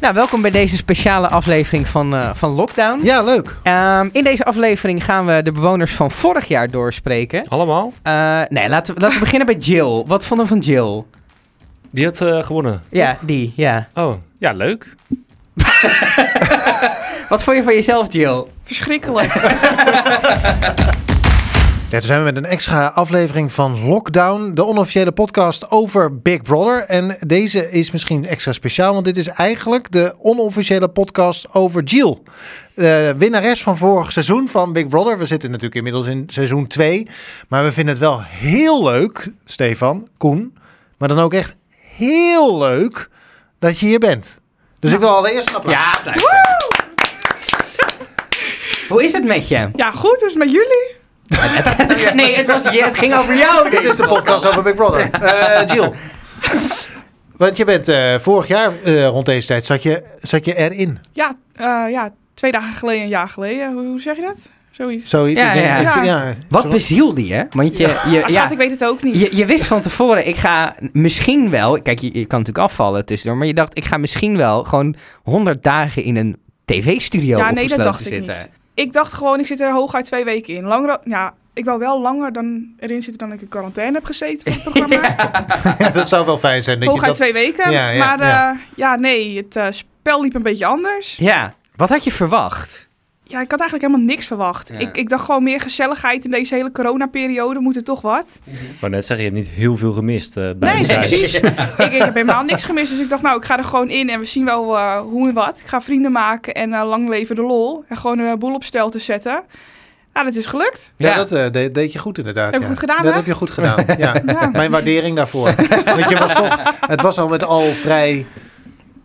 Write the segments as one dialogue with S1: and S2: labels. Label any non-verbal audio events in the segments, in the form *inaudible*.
S1: Nou, welkom bij deze speciale aflevering van, eh, van Lockdown.
S2: Ja, leuk.
S1: Ehm, in deze aflevering gaan we de bewoners van vorig jaar doorspreken.
S3: Allemaal?
S1: Eh, nee, laten we, *laughs* laten we beginnen bij Jill. Wat vonden we van Jill?
S3: Die had eh, gewonnen.
S1: Ja, die, ja.
S3: Oh, ja, leuk.
S1: Wat vond je van jezelf, Jill?
S4: Verschrikkelijk.
S2: Ja, daar zijn we met een extra aflevering van Lockdown, de onofficiële podcast over Big Brother. En deze is misschien extra speciaal, want dit is eigenlijk de onofficiële podcast over Jill. De winnares van vorig seizoen van Big Brother. We zitten natuurlijk inmiddels in seizoen 2. Maar we vinden het wel heel leuk, Stefan, Koen. Maar dan ook echt heel leuk dat je hier bent. Dus ik wil allereerst een
S1: *laughs*
S2: applaus.
S1: Ja, nou, *laughs* Hoe is het met je?
S4: Ja, goed, dus met jullie.
S1: *laughs* Nee, het, was, je- het ging over jou.
S2: Dit is de podcast over Big Brother. Eh, Jill. Want je bent eh, vorig jaar eh, rond deze tijd zat je, zat je erin.
S4: Ja, eh, ja, twee dagen geleden, een jaar geleden. Hoe, hoe zeg je dat? Zoiets.
S2: Zoiets.
S1: Ja,
S2: Ik denk-
S1: ja.
S2: ik vind-
S1: Wat
S2: Sorry.
S1: bezielde je? Want je, je,
S4: Ah,
S1: ja,
S4: schat, ik weet het ook niet.
S1: je, je wist van tevoren, ik ga misschien wel... Kijk, je, je kan natuurlijk afvallen tussendoor. Maar je dacht, ik ga misschien wel gewoon 100 dagen in een tv-studio
S4: ja, nee, dat
S1: opgesloten
S4: dacht
S1: zitten.
S4: ik niet. Ik dacht gewoon, ik zit er hooguit twee weken in. Langer, dan- ja, ik wou wel langer dan erin zitten dan ik in quarantaine heb gezeten
S1: *laughs*
S4: voor het programma.
S2: dat zou wel fijn zijn. Dat je
S4: hooguit
S2: dat,
S4: twee weken.
S2: Ja, ja,
S4: maar eh,
S2: ja.
S4: ja. nee, het eh, spel liep een beetje anders.
S1: Ja, wat had je verwacht?
S4: Ja, ik had eigenlijk helemaal niks verwacht.
S1: Ja.
S4: Ik, ik dacht gewoon meer gezelligheid in deze hele coronaperiode moet er toch wat.
S3: Maar net zeg je, je hebt niet heel veel gemist eh, bij
S4: Nee,
S3: de prijs.
S4: precies.
S1: *laughs*
S4: ik, ik heb helemaal niks gemist. Dus ik dacht, nou, ik ga er gewoon in en we zien wel eh, hoe en wat. Ik ga vrienden maken en eh, lang leven de lol. En gewoon een eh, boel op stel te zetten. Ja, dat is gelukt.
S2: ja,
S1: Ja.
S2: dat eh, deed, deed je goed inderdaad.
S4: Heb ik
S2: ja.
S4: goed gedaan,
S2: Dat
S4: hè?
S2: heb je goed gedaan. Ja.
S4: *laughs* Ja.
S2: Mijn waardering daarvoor. Want je was toch, het was al met al vrij.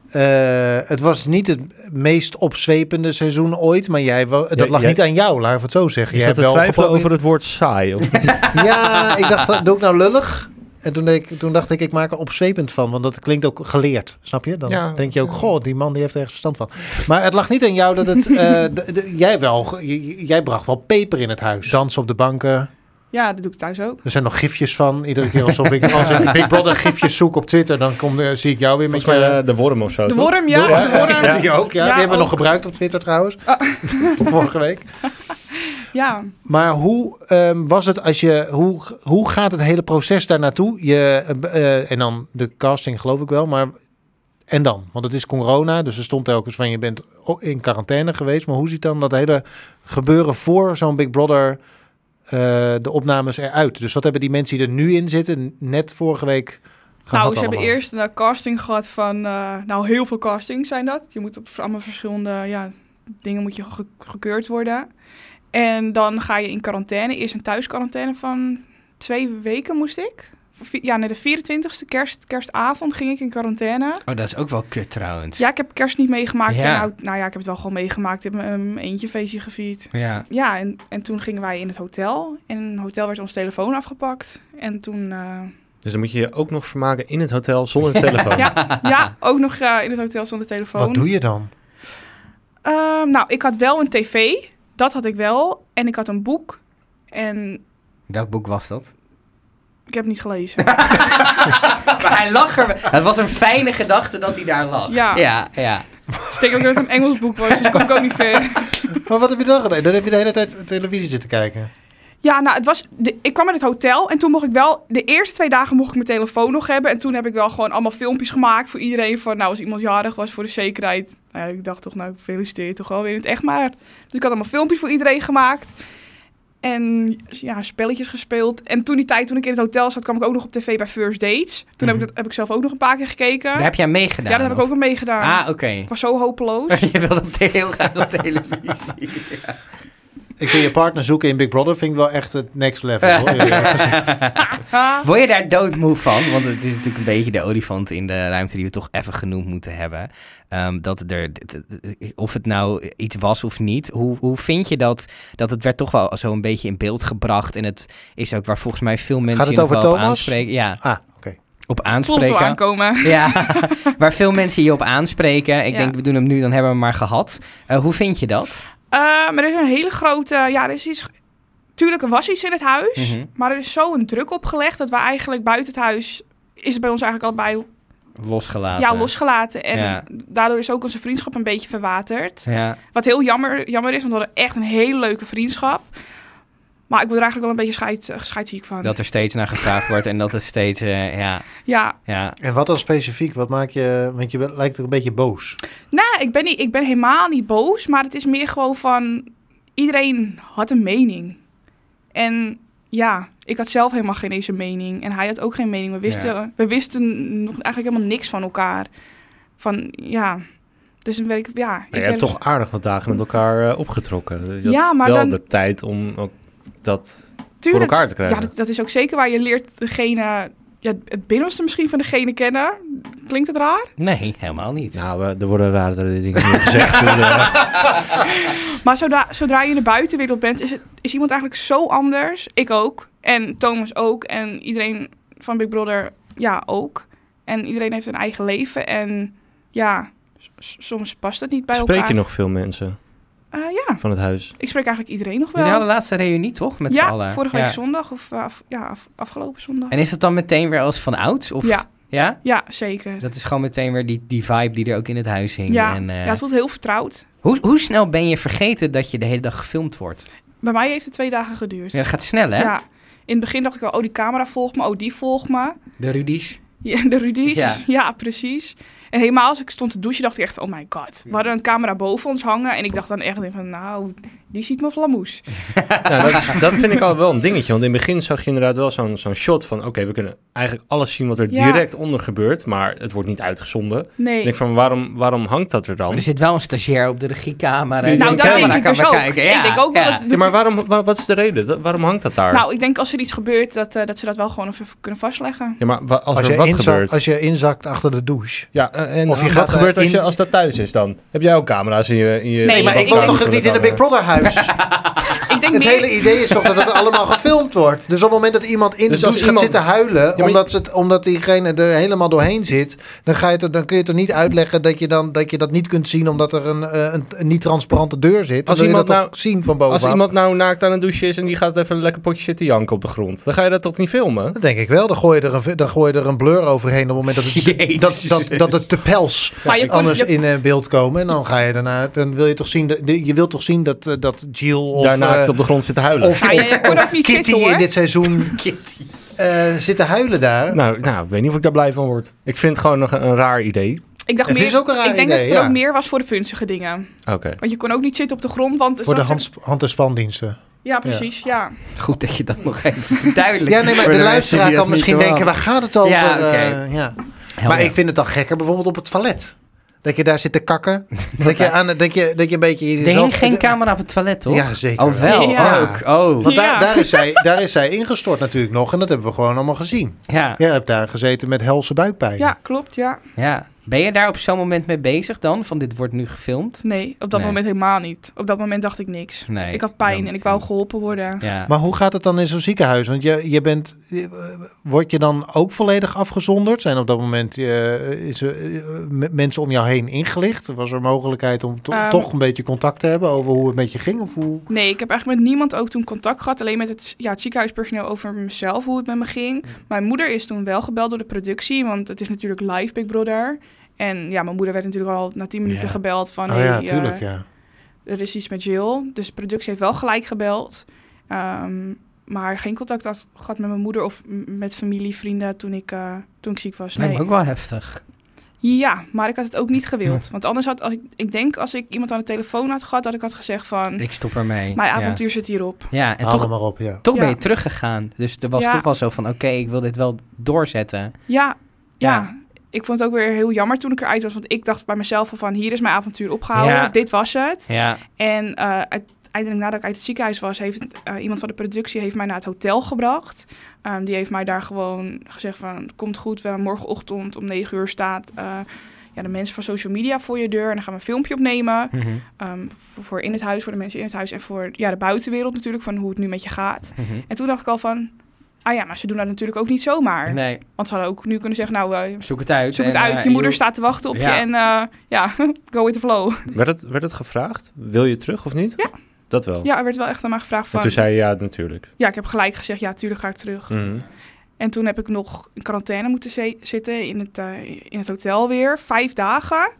S2: eh, het was niet het meest opzwepende seizoen ooit, maar jij, wa- dat
S3: Ja,
S2: lag
S3: jij-
S2: niet aan jou, laten we het zo zeggen.
S3: Je
S2: Jij
S3: zat te
S2: hebt wel
S3: twijfelen
S2: geprobeerd-
S3: over het woord saai. *laughs* Of...
S2: Ja, ik dacht, doe ik nou lullig? En toen, deed ik, toen dacht ik, ik maak er opzwepend van, want dat klinkt ook geleerd, snap je? Dan
S3: Ja.
S2: denk je ook, goh, die man die heeft er echt verstand van. Maar het lag niet aan jou dat het, eh, d- d- jij wel, ge- j- jij bracht wel peper in het huis. Dansen op de banken,
S4: Ja, dat doe ik thuis ook.
S2: er zijn nog gifjes van. Iedere keer alsof *laughs* ik, als ik Big Brother gifjes zoek op Twitter, dan kom, eh, zie ik jou weer met
S3: Volgens mij
S2: je-
S3: eh, de worm of zo,
S4: De
S3: toch?
S4: worm, ja.
S2: Oh, Ja,
S4: De worm.
S2: die ook, ja.
S4: Ja,
S2: die hebben we nog
S4: ook.
S2: gebruikt op Twitter trouwens,
S4: Ah.
S2: *laughs* vorige week.
S4: Ja.
S2: Maar hoe ehm, was het als je. Hoe, hoe gaat het hele proces daar naartoe? Je, eh, eh, en dan de casting, geloof ik wel. Maar. En dan? Want het is corona, dus er stond telkens van je bent o- in quarantaine geweest. Maar hoe ziet dan dat hele gebeuren voor zo'n Big Brother. eh, de opnames eruit? Dus wat hebben die mensen die er nu in zitten, net vorige week. Gehad
S4: Nou, ze hebben
S2: allemaal?
S4: eerst een casting gehad van... eh, nou, heel veel castings zijn dat. Je moet op allemaal verschillende ja, dingen moet je ge- gekeurd worden. En dan ga je in quarantaine. Eerst een thuisquarantaine van twee weken moest ik. Of vi- Ja, nee, de 24ste, kerst, kerstavond, ging ik in quarantaine.
S1: Oh, dat is ook wel kut trouwens.
S4: Ja, ik heb kerst niet meegemaakt.
S1: Ja.
S4: En oud- nou ja, ik heb het wel gewoon meegemaakt. Ik heb een eentje feestje gevierd.
S1: ja.
S4: Ja, en, en toen gingen wij in het hotel. En in het hotel werd ons telefoon afgepakt. En toen... eh,
S3: Dus dan moet je je ook nog vermaken in het hotel zonder telefoon. Nou,
S4: *laughs* ja,
S2: *laughs*
S4: ja, ook nog eh, in het hotel zonder telefoon.
S2: Wat doe je dan?
S4: Ehm, nou, ik had wel een tv. Dat had ik wel. En ik had een boek. En
S1: Welk boek was dat?
S4: ik heb niet
S2: *laughs*
S4: gelezen.
S1: *laughs* Maar hij lag er. Het was een fijne gedachte dat hij daar lag.
S4: Ja.
S1: Ja, ja.
S4: ik denk ook dat het een Engels boek was, dus kom ik ook
S2: *laughs*
S4: niet ver.
S2: *laughs* Maar wat heb je dan gedaan? Dan heb je de hele tijd televisie zitten kijken.
S4: Ja, nou, het was, de- ik kwam in het hotel en toen mocht ik wel... De eerste twee dagen mocht ik mijn telefoon nog hebben. En toen heb ik wel gewoon allemaal filmpjes gemaakt voor iedereen. Van, nou, als iemand jarig was voor de zekerheid. Nou ja, ik dacht toch, nou, ik feliciteer je toch wel weer in het echt maar. Dus ik had allemaal filmpjes voor iedereen gemaakt. En ja, spelletjes gespeeld. En toen die tijd, toen ik in het hotel zat, kwam ik ook nog op tv bij First Dates. Toen heb, ik
S1: Mhm.
S4: dat, heb ik zelf ook nog een paar keer gekeken.
S1: Daar heb jij aan meegedaan?
S4: ja, dat heb ik ook wel meegedaan.
S1: Ah, oké. *laughs*
S4: Ik was zo hopeloos.
S1: Je wilde op de heel graag op televisie.
S2: Ik vind je partner zoeken in Big Brother vind ik wel echt het next level.
S4: *laughs*
S2: Hoor.
S4: Ah,
S1: Word je daar doodmoe van? Want het is natuurlijk een beetje de olifant in de ruimte die we toch even genoemd moeten hebben. Ehm, dat er, d- d- d- of het nou iets was of niet, hoe, hoe vind je dat? Dat het werd toch wel zo een beetje in beeld gebracht. En het is ook waar volgens mij veel mensen
S2: Gaat het
S1: je nog
S2: over
S1: wel op
S2: Thomas?
S1: aanspreken. Ja,
S2: Ah, oké.
S1: op
S4: ik voelde het wel
S1: aanspreken.
S4: aankomen.
S1: Ja, *laughs* waar veel mensen je op aanspreken. Ik
S4: Ja.
S1: denk, we doen hem nu, dan hebben we hem maar gehad. Eh, hoe vind je dat?
S4: Eh, maar er is een hele grote... Ja, er is iets... Tuurlijk, er was iets in het huis.
S1: Mhm.
S4: Maar er is zo'n druk opgelegd dat we eigenlijk buiten het huis... Is het bij ons eigenlijk allebei
S1: Losgelaten.
S4: ja, losgelaten. En
S1: Ja.
S4: daardoor is ook onze vriendschap een beetje verwaterd.
S1: Ja,
S4: Wat heel jammer, jammer is, want we hadden echt een hele leuke vriendschap. Maar ik word er eigenlijk wel een beetje scheid, eh, scheidsziek van.
S1: dat er steeds naar gevraagd wordt en dat er steeds, eh, ja,
S4: Ja,
S1: ja.
S2: En wat dan specifiek? Wat maak je... Want je bent- lijkt er een beetje boos.
S4: nou, ik ben, niet, ik ben helemaal niet boos, maar het is meer gewoon van... Iedereen had een mening. En ja, ik had zelf helemaal geen eens een mening. En hij had ook geen mening. We wisten, we wisten nog eigenlijk helemaal niks van elkaar. Van, ja... Dus dan ben ik, ja... ik
S3: je
S4: ben-
S3: hebt toch aardig wat dagen met elkaar eh, opgetrokken. Je had
S4: Ja, maar
S3: wel
S4: dan-
S3: de tijd om ook dat
S4: Tuurlijk.
S3: voor elkaar te krijgen.
S4: Ja, dat, dat is ook zeker waar je leert degene, ja, het binnenste misschien van degene kennen. Klinkt het raar?
S1: Nee, helemaal niet.
S3: Nou, eh, er worden raardere dingen
S4: *laughs*
S3: gezegd. Dus, eh,
S4: Maar zodra, zodra je in de buitenwereld bent, is, het, is iemand eigenlijk zo anders. Ik ook. En Thomas ook. En iedereen van Big Brother, ja, ook. En iedereen heeft een eigen leven. En ja, s- soms past het niet bij
S3: spreek
S4: elkaar.
S3: je nog veel mensen
S4: Eh, ja,
S3: van het huis?
S4: ik spreek eigenlijk iedereen nog wel.
S1: Jullie hadden laatste reunie toch, met z'n
S4: ja,
S1: allen?
S4: vorige week
S1: Ja.
S4: zondag of eh, af- ja, af- afgelopen zondag.
S1: En is dat dan meteen weer als van ouds? Of...
S4: Ja,
S1: Ja?
S4: ja, zeker.
S1: Dat is gewoon meteen weer die, die vibe die er ook in het huis hing.
S4: Ja,
S1: en, eh,
S4: ja, het voelt heel vertrouwd.
S1: hoe, hoe snel ben je vergeten dat je de hele dag gefilmd wordt?
S4: Bij mij heeft het twee dagen geduurd.
S1: Ja, gaat snel, hè?
S4: Dus- Ja. In het begin dacht ik wel, oh, die camera volgt me, oh, die volgt me.
S1: De Rudies.
S4: Ja, De Rudy's,
S1: Ja.
S4: ja. precies. En helemaal als ik stond te douchen, dacht ik echt, oh my god. We hadden een camera boven ons hangen en ik dacht dan echt van, nou, die ziet me vlamoes.
S3: Nou, dat,
S4: *laughs*
S3: is- dat vind ik al wel een dingetje. Want in het begin zag je inderdaad wel zo'n zo'n shot van... oké, we kunnen eigenlijk alles zien wat er
S4: Ja.
S3: direct onder gebeurt... maar het wordt niet uitgezonden. Ik
S4: Nee.
S3: denk van, waarom, waarom hangt dat er dan?
S1: Maar er zit wel een stagiair op de regiekamer.
S3: Nou,
S1: en
S4: nou,
S1: die
S4: dat
S1: camera
S4: denk ik
S1: kan
S4: dus
S1: maar
S4: ook.
S1: kijken. Ja,
S4: ik denk ook wel
S1: ja.
S4: dat... dat-
S3: Ja, maar waarom, wa- wat is de reden? Dat- waarom hangt dat daar?
S4: Nou, ik denk als er iets gebeurt, dat, eh, dat ze dat wel gewoon even kunnen vastleggen.
S3: ja, maar wa- als,
S2: Als,
S3: er
S2: je,
S3: wat
S2: inzak-
S3: gebeurt...
S2: als je inzakt achter de douche.
S3: Ja, eh, en
S2: Of je
S3: wat
S2: gaat, eh,
S3: gebeurt als,
S2: in-
S3: je, als dat thuis is dan? Heb jij ook camera's in je... In je in je
S4: Nee, maar
S2: woon
S4: ik
S3: badkamer
S4: denk-
S2: toch
S3: zullen
S2: niet in het
S3: dan,
S2: Big
S3: eh?
S2: Brother
S4: *laughs*
S2: huis?
S4: Ik denk
S2: Het
S4: meer...
S2: hele idee is toch dat het allemaal gefilmd wordt. Dus op het moment dat iemand in
S3: Dus
S2: de
S3: als
S2: douche gaat
S3: iemand-
S2: zitten huilen,
S3: maar je-
S2: omdat, ze het, omdat diegene er helemaal doorheen zit, dan, ga je toch- dan kun je toch niet uitleggen dat je, dan, dat je dat niet kunt zien omdat er een, eh, een, een niet transparante deur zit. Dan
S3: Als
S2: wil je dat
S3: iemand
S2: toch zien van bovenaf.
S3: Als iemand nou naakt aan het douchen is en die gaat even een lekker potje zitten janken op de grond... dan ga je dat toch niet filmen?
S2: Dat denk ik wel. Dan gooi je er een, dan gooi je er een blur overheen op het moment
S3: *laughs*
S2: dat het, dat,
S1: Jezus.
S2: dat, dat het te pels
S4: Maar je kon-
S2: anders
S4: je-
S2: in eh, beeld komen. En dan ga je daarna, dan wil je toch zien, dat, de- je wilt toch zien dat, eh, dat Jill of...
S3: Daar naakt
S2: eh,
S3: op de grond zitten huilen.
S2: of,
S4: Ja, je
S2: of-
S4: kon
S2: of
S4: ook niet
S2: Kitty
S4: zitten, hoor.
S2: in dit seizoen
S1: Kitty.
S2: eh, zitten huilen daar.
S3: Nou, nou, ik weet niet of ik daar blij van word. Ik vind het gewoon nog een, een raar idee.
S4: Ik dacht
S2: Het
S4: meer...
S2: is ook een raar
S4: ik denk
S2: idee,
S4: dat het
S2: ja.
S4: er ook meer was voor de funzige dingen.
S3: Oké.
S4: Want je kon ook niet zitten op de grond, want...
S2: Voor de hand, hand- en spandiensten.
S4: Ja, precies, ja.
S1: Goed dat je dat nog even *laughs* verduidelijkt.
S2: Ja, nee, maar
S1: Voor
S2: de,
S1: mensen
S2: luisteraar
S1: die dat
S2: kan misschien
S1: niet
S2: denken, waar gaat het over?
S1: Ja,
S2: Eh, ja.
S1: horen.
S2: Maar
S1: Helder.
S2: ik vind het dan gekker bijvoorbeeld op het toilet. Dat je daar zit te
S1: *laughs*
S2: kakken. dat, je aan, dat, je, dat je een beetje...
S1: Er
S2: jezelf-
S1: hing geen camera op het toilet, toch?
S2: Ja, zeker.
S1: Oh, wel?
S4: Ja.
S1: Ook. Oh,
S2: Want daar,
S4: Ja.
S2: daar, is zij, daar is zij ingestort natuurlijk nog. En dat hebben we gewoon allemaal gezien.
S1: ja.
S2: Jij hebt daar gezeten met helse buikpijn.
S4: Ja, klopt, ja.
S1: ja. Ben je daar op zo'n moment mee bezig dan? Van dit wordt nu gefilmd?
S4: Nee, op dat
S1: Nee.
S4: moment helemaal niet. Op dat moment dacht ik niks.
S1: Nee.
S4: Ik had pijn
S1: dan-
S4: en ik wou geholpen worden.
S1: Ja.
S2: Maar hoe gaat het dan in zo'n ziekenhuis? Want je, je bent, eh, word je dan ook volledig afgezonderd? Zijn op dat moment eh, is er, eh, m- mensen om jou heen ingelicht? Was er mogelijkheid om to-
S4: Ehm.
S2: toch een beetje contact te hebben over hoe het met je ging? Of hoe...
S4: Nee, ik heb eigenlijk met niemand ook toen contact gehad. Alleen met het, ja, het ziekenhuispersoneel over mezelf, hoe het met me ging. Mijn moeder is toen wel gebeld door de productie, want het is natuurlijk live Big Brother. En ja, mijn moeder werd natuurlijk al na tien minuten
S1: Ja.
S4: gebeld van...
S2: oh
S4: hey,
S2: ja,
S4: eh,
S2: tuurlijk, ja.
S4: er is iets met Jill. Dus de productie heeft wel gelijk gebeld. Ehm, maar geen contact had gehad met mijn moeder of m- met familie, vrienden toen ik, eh, toen ik ziek was.
S1: Lijkt
S4: Nee.
S1: me ook wel heftig.
S4: Ja, maar ik had het ook niet gewild. Want anders had als ik, ik denk als ik iemand aan de telefoon had gehad, dat ik had gezegd van
S1: Ik stop ermee.
S4: mijn
S1: Ja.
S4: Mhm. avontuur zit hierop.
S1: Ja, en
S2: Haal
S1: toch,
S2: hem maar op, ja.
S1: toch ben je
S4: Ja.
S1: teruggegaan. Dus er was
S4: Ja.
S1: toch wel zo van, oké, ik wil dit wel doorzetten.
S4: Ja, ja,
S1: Ja.
S4: Ik vond het ook weer heel jammer toen ik eruit was, want ik dacht bij mezelf al van hier is mijn avontuur opgehouden,
S1: Ja.
S4: dit was het.
S1: Ja,
S4: En eh, uiteindelijk nadat ik uit het ziekenhuis was, heeft eh, iemand van de productie heeft mij naar het hotel gebracht. Ehm, die heeft mij daar gewoon gezegd van komt goed, we morgenochtend om 9 uur staat eh, ja, de mensen van social media voor je deur en dan gaan we een filmpje opnemen.
S1: Mhm,
S4: Ehm, voor, voor in het huis, voor de mensen in het huis en voor ja, de buitenwereld natuurlijk, van hoe het nu met je gaat.
S1: mhm.
S4: En toen dacht ik al van, ah ja, maar ze doen dat natuurlijk ook niet zomaar.
S1: Nee,
S4: Want ze hadden ook nu kunnen zeggen, nou, eh,
S1: zoek het uit.
S4: zoek het
S1: en,
S4: uit,
S1: eh,
S4: je moeder
S1: joh.
S4: staat te wachten op
S1: Ja.
S4: je en eh, ja, *laughs* go with the flow.
S3: Werd het, werd het gevraagd? Wil je terug of niet?
S4: Ja.
S3: Dat wel.
S4: Ja, er werd wel echt aan mij gevraagd
S3: en
S4: van,
S3: toen zei je ja, natuurlijk.
S4: ja, ik heb gelijk gezegd, ja, tuurlijk ga ik terug.
S3: Mhm.
S4: En toen heb ik nog in quarantaine moeten ze- zitten in het, eh, in het hotel weer. Vijf dagen.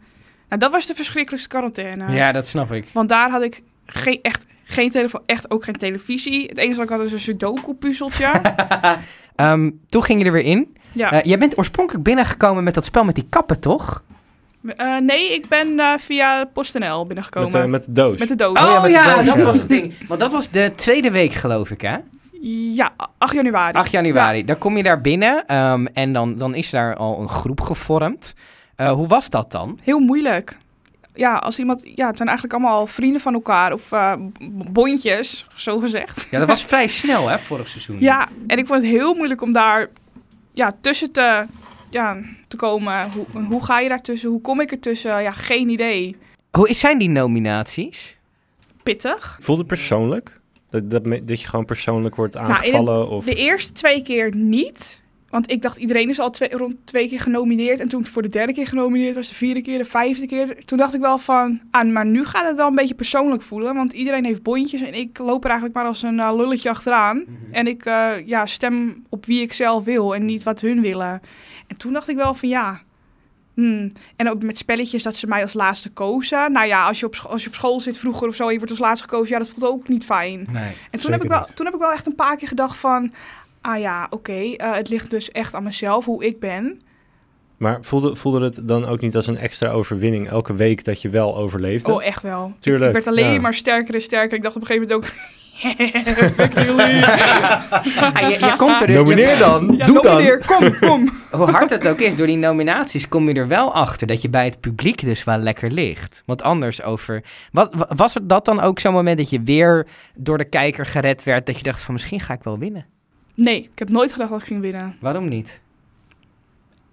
S4: Nou, dat was de verschrikkelijkste quarantaine.
S1: Ja, dat snap ik. *laughs*
S4: Want daar had ik geen, echt geen telefoon, echt ook geen televisie. Het enige wat ik had is een sudoku-puzzeltje.
S1: Ehm, toen ging je er weer in.
S4: ja.
S1: Eh, jij bent oorspronkelijk binnengekomen met dat spel met die kappen, toch?
S4: Eh, nee, ik ben eh, via PostNL binnengekomen.
S3: Met, eh, met de doos.
S4: Met de doos.
S1: Oh,
S2: ja, met de
S1: ja,
S2: doos,
S1: dat
S2: ja.
S1: was het ding. Want dat was de tweede week, geloof ik, hè?
S4: Ja, 8 januari.
S1: 8 januari. Dan kom je daar binnen ehm, en dan, dan is daar al een groep gevormd. Eh, hoe was dat dan?
S4: Heel moeilijk. Ja, als iemand, ja, het zijn eigenlijk allemaal vrienden van elkaar of eh, b- bondjes, zo gezegd.
S1: Ja, dat
S4: *laughs*
S1: was vrij snel, hè, vorig seizoen.
S4: Ja, en ik vond het heel moeilijk om daar ja, tussen te, ja, te komen. Hoe, hoe ga je daartussen? Hoe kom ik ertussen? Ja, geen idee.
S1: Hoe is- zijn die nominaties?
S4: Pittig.
S3: Voelde het persoonlijk? Dat, dat, me- dat je gewoon persoonlijk wordt
S4: Nou, in het-
S3: aangevallen? of...
S4: De eerste twee keer niet. Want ik dacht, iedereen is al twee, rond twee keer genomineerd. En toen ik voor de derde keer genomineerd was, de vierde keer, de vijfde keer. Toen dacht ik wel van, ah, maar nu gaat het wel een beetje persoonlijk voelen. Want iedereen heeft bondjes en ik loop er eigenlijk maar als een eh, lulletje achteraan. En ik eh, ja, stem op wie ik zelf wil en niet wat hun willen. En toen dacht ik wel van, ja... hmm. En ook met spelletjes dat ze mij als laatste kozen. Nou ja, als je op, scho- als je op school zit vroeger of zo, en je wordt als laatste gekozen. Ja, dat voelt ook niet fijn.
S1: Nee.
S4: En toen
S2: Zeker
S4: heb, ik wel, toen heb ik wel echt een paar keer gedacht van... Ah ja, oké, eh, het ligt dus echt aan mezelf, hoe ik ben.
S3: Maar voelde, voelde het dan ook niet als een extra overwinning elke week dat je wel overleefde?
S4: Oh, echt wel.
S3: Tuurlijk.
S4: Ik werd alleen
S3: ja.
S4: maar sterker en sterker. Ik dacht op een gegeven moment ook... *laughs*
S3: *laughs*
S4: Fuck jullie.
S1: je, je komt er dus-
S3: Nomineer dan!
S4: Ja,
S3: Doe dan!
S4: nomineer, kom, kom.
S3: *laughs*
S1: hoe hard het ook is, door die nominaties kom je er wel achter dat je bij het publiek dus wel lekker ligt. Want anders over. Wat, wa- was het dat dan ook zo'n moment dat je weer door de kijker gered werd? Dat je dacht van misschien ga ik wel winnen.
S4: Nee, ik heb nooit gedacht dat ik ging winnen.
S1: Waarom niet?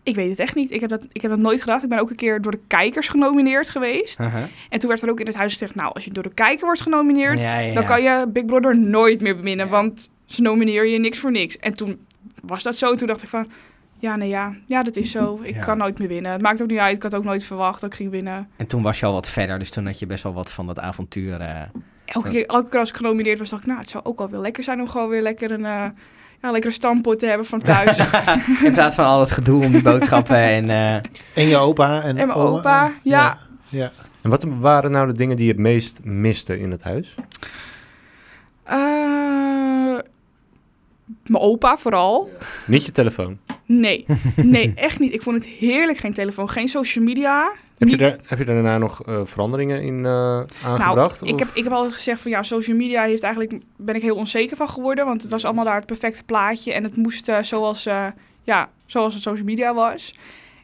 S4: Ik weet het echt niet. Ik heb, dat, ik heb dat nooit gedacht. Ik ben ook een keer door de kijkers genomineerd geweest.
S1: Haha.
S4: En toen werd er ook in het huis gezegd... Nou, als je door de kijker wordt genomineerd...
S1: Ja, ja,
S4: dan
S1: ja.
S4: kan je Big Brother nooit meer beminnen,
S1: Ja.
S4: want ze nomineer je niks voor niks. En toen was dat zo. Toen dacht ik van, ja, nee, ja, ja, dat is zo. Ik
S1: Ja.
S4: kan nooit meer winnen. Het maakt ook niet uit. Ik had ook nooit verwacht dat ik ging winnen.
S1: En toen was je al wat verder, dus toen had je best wel wat van dat avontuur. eh,
S4: Elke keer, elke keer als ik genomineerd was, dacht ik, nou, het zou ook wel weer lekker zijn om gewoon weer lekker een, eh ja, lekkere stamppot te hebben van
S1: *laughs*
S4: thuis.
S1: in plaats van al het gedoe om
S4: *laughs*
S1: die boodschappen en. eh,
S2: En je opa en,
S4: en mijn
S2: oma.
S4: opa, ja.
S2: ja.
S3: En wat waren nou de dingen die je het meest miste in het huis?
S4: Eh, mijn opa vooral.
S3: Niet je telefoon.
S4: Nee, nee, echt niet. Ik vond het heerlijk. Geen telefoon, geen social media.
S3: Heb je,
S4: Niet-
S3: daar, heb je daarna nog eh, veranderingen in eh, aangebracht?
S4: Nou, ik
S3: Of-
S4: heb, ik heb altijd gezegd van ja, social media heeft eigenlijk, ben ik heel onzeker van geworden. Want het was allemaal daar het perfecte plaatje. En het moest eh, zoals, eh, ja, zoals het social media was.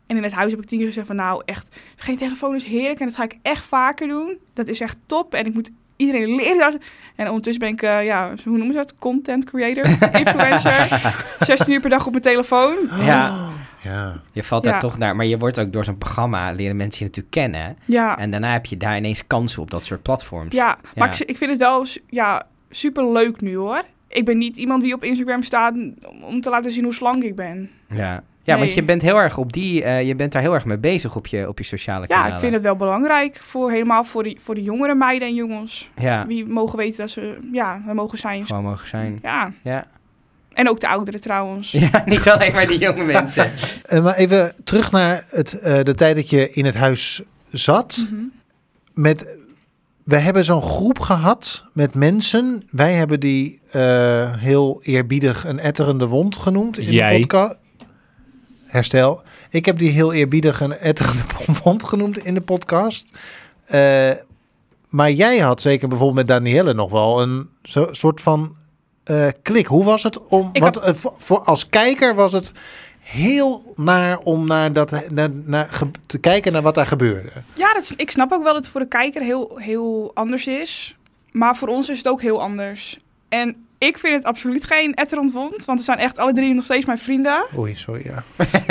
S4: En in het huis heb ik tien keer gezegd van nou echt, geen telefoon is heerlijk. En dat ga ik echt vaker doen. Dat is echt top. En ik moet iedereen leren. dat- En ondertussen ben ik, eh, ja, hoe noemen ze dat? Content creator, *laughs* influencer. 16 uur per dag op mijn telefoon.
S1: Ja.
S2: Oh, ja.
S1: je valt
S4: Ja.
S1: daar toch naar. Maar je wordt ook door zo'n programma leren mensen je natuurlijk kennen.
S4: Ja.
S1: En daarna heb je daar ineens kansen op dat soort platforms.
S4: Ja, maar
S1: Dus Ja.
S4: Ik, ik vind het wel s- ja, super leuk nu hoor. Ik ben niet iemand die op Instagram staat om, om te laten zien hoe slank ik ben.
S1: Ja, ja want
S4: Nee.
S1: je bent heel erg op die, eh, je bent daar heel erg mee bezig op je, op je sociale kanalen.
S4: Ja, ik vind het wel belangrijk voor helemaal voor de, voor de jongere meiden en jongens.
S1: Ja,
S4: Die mogen weten dat ze ja, we mogen zijn.
S1: gewoon mogen
S4: *laughs*
S1: zijn.
S4: Ja.
S1: Ja.
S4: En ook de ouderen trouwens.
S1: Ja, niet alleen maar die jonge
S4: *laughs*
S1: mensen.
S2: Eh, maar even terug naar het, eh, de tijd dat je in het huis zat.
S4: Mhm.
S2: met. We hebben zo'n groep gehad met mensen. Wij hebben die eh, heel eerbiedig een etterende wond genoemd in
S3: Jij.
S2: de podcast. Herstel. Ik heb die heel eerbiedig een etterende *laughs* wond genoemd in de podcast. Eh, maar jij had zeker bijvoorbeeld met Danielle nog wel een zo- soort van eh, klik. Hoe was het om.
S4: Ik
S2: want eh, voor, voor als kijker was het heel naar om naar dat, naar, naar, ge- te kijken naar wat daar gebeurde.
S4: Ja, dat, is- ik snap ook wel dat het voor de kijker heel, heel anders is. Maar voor ons is het ook heel anders. En ik vind het absoluut geen etterend wond. Want we zijn echt alle drie nog steeds mijn
S1: *laughs*
S4: vrienden.
S2: Oei, sorry. Ja.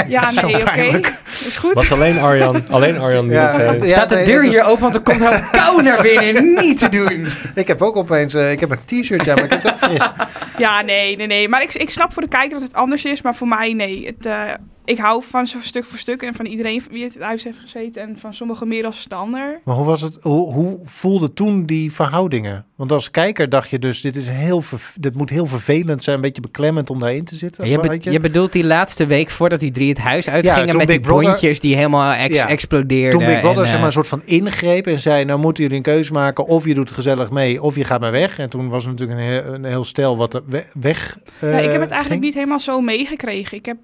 S4: Ja,
S2: is zo
S4: nee, oké.
S2: pijnlijk.
S4: Is goed.
S3: Was alleen Arjan. *laughs* alleen Arjan die dat zei.
S1: Staat de
S2: nee,
S1: deur
S2: het is-
S1: hier open, want er komt heel
S4: *laughs*
S1: kou naar binnen. Niet te doen.
S2: Ik heb ook opeens, eh, ik heb een t-shirt, ja, maar ik heb *laughs* het ook fris.
S4: Ja, nee, nee, nee. Maar ik, ik snap voor de kijker dat het anders is. Maar voor mij, nee. Het, eh, ik hou van zo stuk voor stuk en van iedereen wie het huis heeft gezeten en van sommigen meer dan standaard.
S2: Maar hoe, was het, hoe, hoe voelde toen die verhoudingen? Want als kijker dacht je dus, dit, is heel verv- dit moet heel vervelend zijn, een beetje beklemmend om daarin te zitten.
S1: Je,
S2: weet
S1: be- je bedoelt die laatste week voordat die drie het huis uitgingen
S2: toen
S1: met die
S2: Big Brother-
S1: bondjes die helemaal ex-
S2: Ja.
S1: explodeerden.
S2: Toen Big Brother
S1: en,
S2: zeg maar,
S1: eh,
S2: een soort van ingreep en zei, nou moeten jullie een keuze maken. Of je doet gezellig mee, of je gaat maar weg. En toen was er natuurlijk een heel, een heel stel wat er we- weg eh,
S4: Nou, ik heb het eigenlijk
S2: ging.
S4: niet helemaal zo meegekregen. Ik heb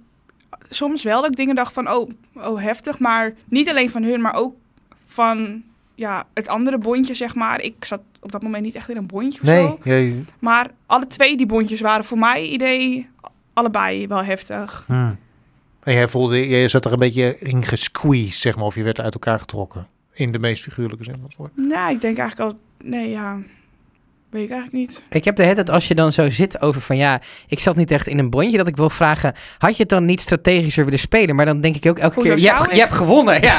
S4: soms wel dat ik dingen dacht van, oh, oh heftig. Maar niet alleen van hun, maar ook van ja, het andere bondje, zeg maar. Ik zat op dat moment niet echt in een bondje of
S2: Nee,
S4: zo.
S2: je-
S4: Maar alle twee die bondjes waren voor mij idee allebei wel heftig.
S2: hmm. En jij voelde, jij zat er een beetje in gesqueezed, zeg maar. Of je werd uit elkaar getrokken. In de meest figuurlijke zin van het woord.
S4: Nou, ik denk eigenlijk al... Nee, ja... Weet ik eigenlijk niet.
S1: Ik heb de hele tijd, als je dan zo zit over van ja, ik zat niet echt in een bondje, dat ik wil vragen, had je het dan niet strategischer willen spelen? Maar dan denk ik ook elke
S4: Hoezo
S1: keer, je hebt,
S4: zou
S1: je
S4: ik?
S1: hebt gewonnen. Ja,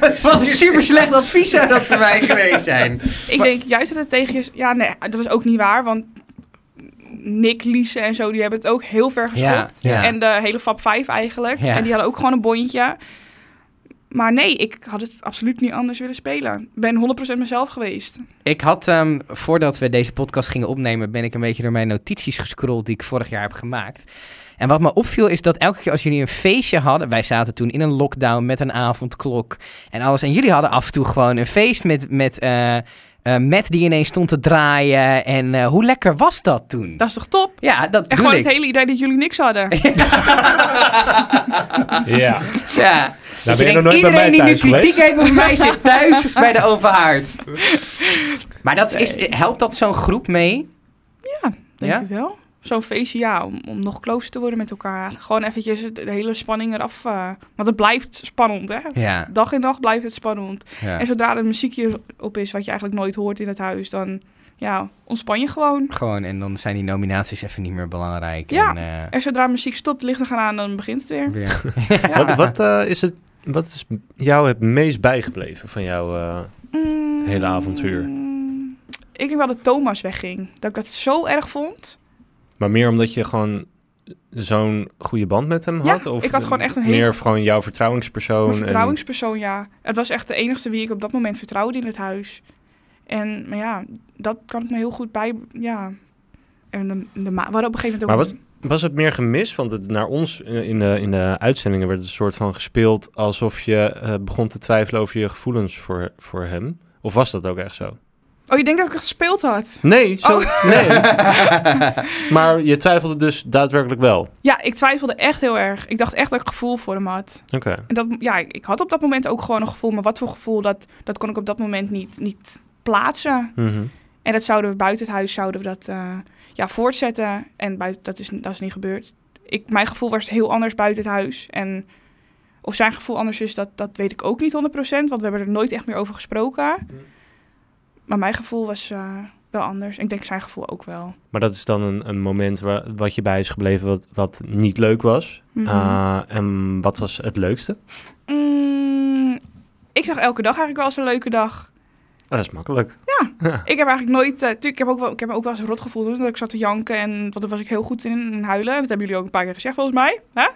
S1: dus, *laughs* wat een super slecht advies zou dat voor mij geweest zijn.
S4: Ik denk juist dat het tegen je... Ja, nee, dat was ook niet waar, want... Nick, Lise en zo, die hebben het ook heel ver geschopt.
S1: Ja, ja.
S4: En de hele Fab 5 eigenlijk.
S1: Ja.
S4: En die hadden ook gewoon een bondje. Maar nee, ik had het absoluut niet anders willen spelen. Ik ben 100% mezelf geweest.
S1: Ik had, ehm, voordat we deze podcast gingen opnemen, ben ik een beetje door mijn notities gescrolld die ik vorig jaar heb gemaakt. En wat me opviel is dat elke keer als jullie een feestje hadden, wij zaten toen in een lockdown met een avondklok en alles. En jullie hadden af en toe gewoon een feest met, met, eh eh, Matt die ineens stond te draaien. En eh, hoe lekker was dat toen?
S4: Dat is toch top?
S1: Ja, dat
S4: En
S1: bedoel
S4: gewoon
S1: ik.
S4: het
S1: *laughs*
S4: hele idee dat jullie niks hadden.
S3: Ja.
S1: Ja.
S3: Daar
S1: Dat
S3: ben je
S1: denkt,
S3: nog nooit bij
S1: iedereen
S3: mij
S1: die nu
S3: thuis
S1: kritiek
S3: geweest.
S1: heeft op mij zit thuis bij
S3: *laughs*
S1: de open haard. Maar dat is, helpt dat zo'n groep mee?
S4: Denk
S1: Ja?
S4: het wel. Zo'n feestje, ja, om, om nog closer te worden met elkaar. Gewoon eventjes de de hele spanning eraf. eh, want het blijft spannend, hè?
S1: *laughs* Ja.
S4: Dag in dag blijft het spannend.
S1: ja.
S4: En zodra er muziekje op is, wat je eigenlijk nooit hoort in het huis, dan ja, ontspan je gewoon.
S1: Gewoon, en dan zijn die nominaties even niet meer belangrijk.
S4: Ja.
S1: En, eh,
S4: En zodra muziek stopt, de lichten gaan aan, dan begint het weer.
S1: *laughs* weer.
S3: Wat, wat, eh, is het, wat is jou het meest bijgebleven van jou? eh,
S4: Mm.
S3: Hele avontuur.
S4: Ik denk wel dat Thomas wegging. Dat ik dat zo erg vond.
S3: maar meer omdat je gewoon zo'n goede band met hem
S4: Ja,
S3: had? of
S4: ik had gewoon echt een hele-
S3: Meer gewoon jouw vertrouwenspersoon?
S4: Mijn
S3: en-
S4: vertrouwenspersoon, ja. Het was echt de enigste wie ik op dat moment vertrouwde in het huis. En maar ja, dat kan ik me heel goed bij... Ja. En de, de ma- we hadden op een gegeven moment ook...
S3: Maar Was het meer gemist? Want het, naar ons eh, in de, in de uitzendingen werd het een soort van gespeeld alsof je eh, begon te twijfelen over je gevoelens voor, voor hem. Of was dat ook echt zo?
S4: Oh, je denkt dat ik het gespeeld had?
S3: Nee, zo, nee. *laughs* maar je twijfelde dus daadwerkelijk wel. Oké.
S4: Ja, ik twijfelde echt heel erg. Ik dacht echt dat ik gevoel voor hem had. En dat, ja, ik, ik had op dat moment ook gewoon een gevoel. Maar wat voor gevoel, dat, dat kon ik op dat moment niet, niet plaatsen.
S3: Mhm.
S4: En dat zouden we buiten het huis zouden we dat eh, ja, voortzetten. En buiten, dat, is, dat is niet gebeurd. Ik, mijn gevoel was heel anders buiten het huis. En of zijn gevoel anders is, dat, dat weet ik ook niet 100%. Want we hebben er nooit echt meer over gesproken. Maar mijn gevoel was eh, wel anders. En ik denk zijn gevoel ook wel.
S3: Maar dat is dan een, een moment waar, wat je bij is gebleven wat, wat niet leuk was.
S4: Mhm.
S3: Ah, en wat was het leukste?
S4: Mm, ik zag elke dag eigenlijk wel als een leuke dag.
S3: Ah, dat is makkelijk.
S4: Ik heb eigenlijk nooit. eh, tuurlijk, ik heb ook wel, ik heb me ook wel eens rot gevoeld hoor, dat ik zat te janken en want daar was ik heel goed in en huilen. Dat hebben jullie ook een paar keer gezegd volgens mij. hè?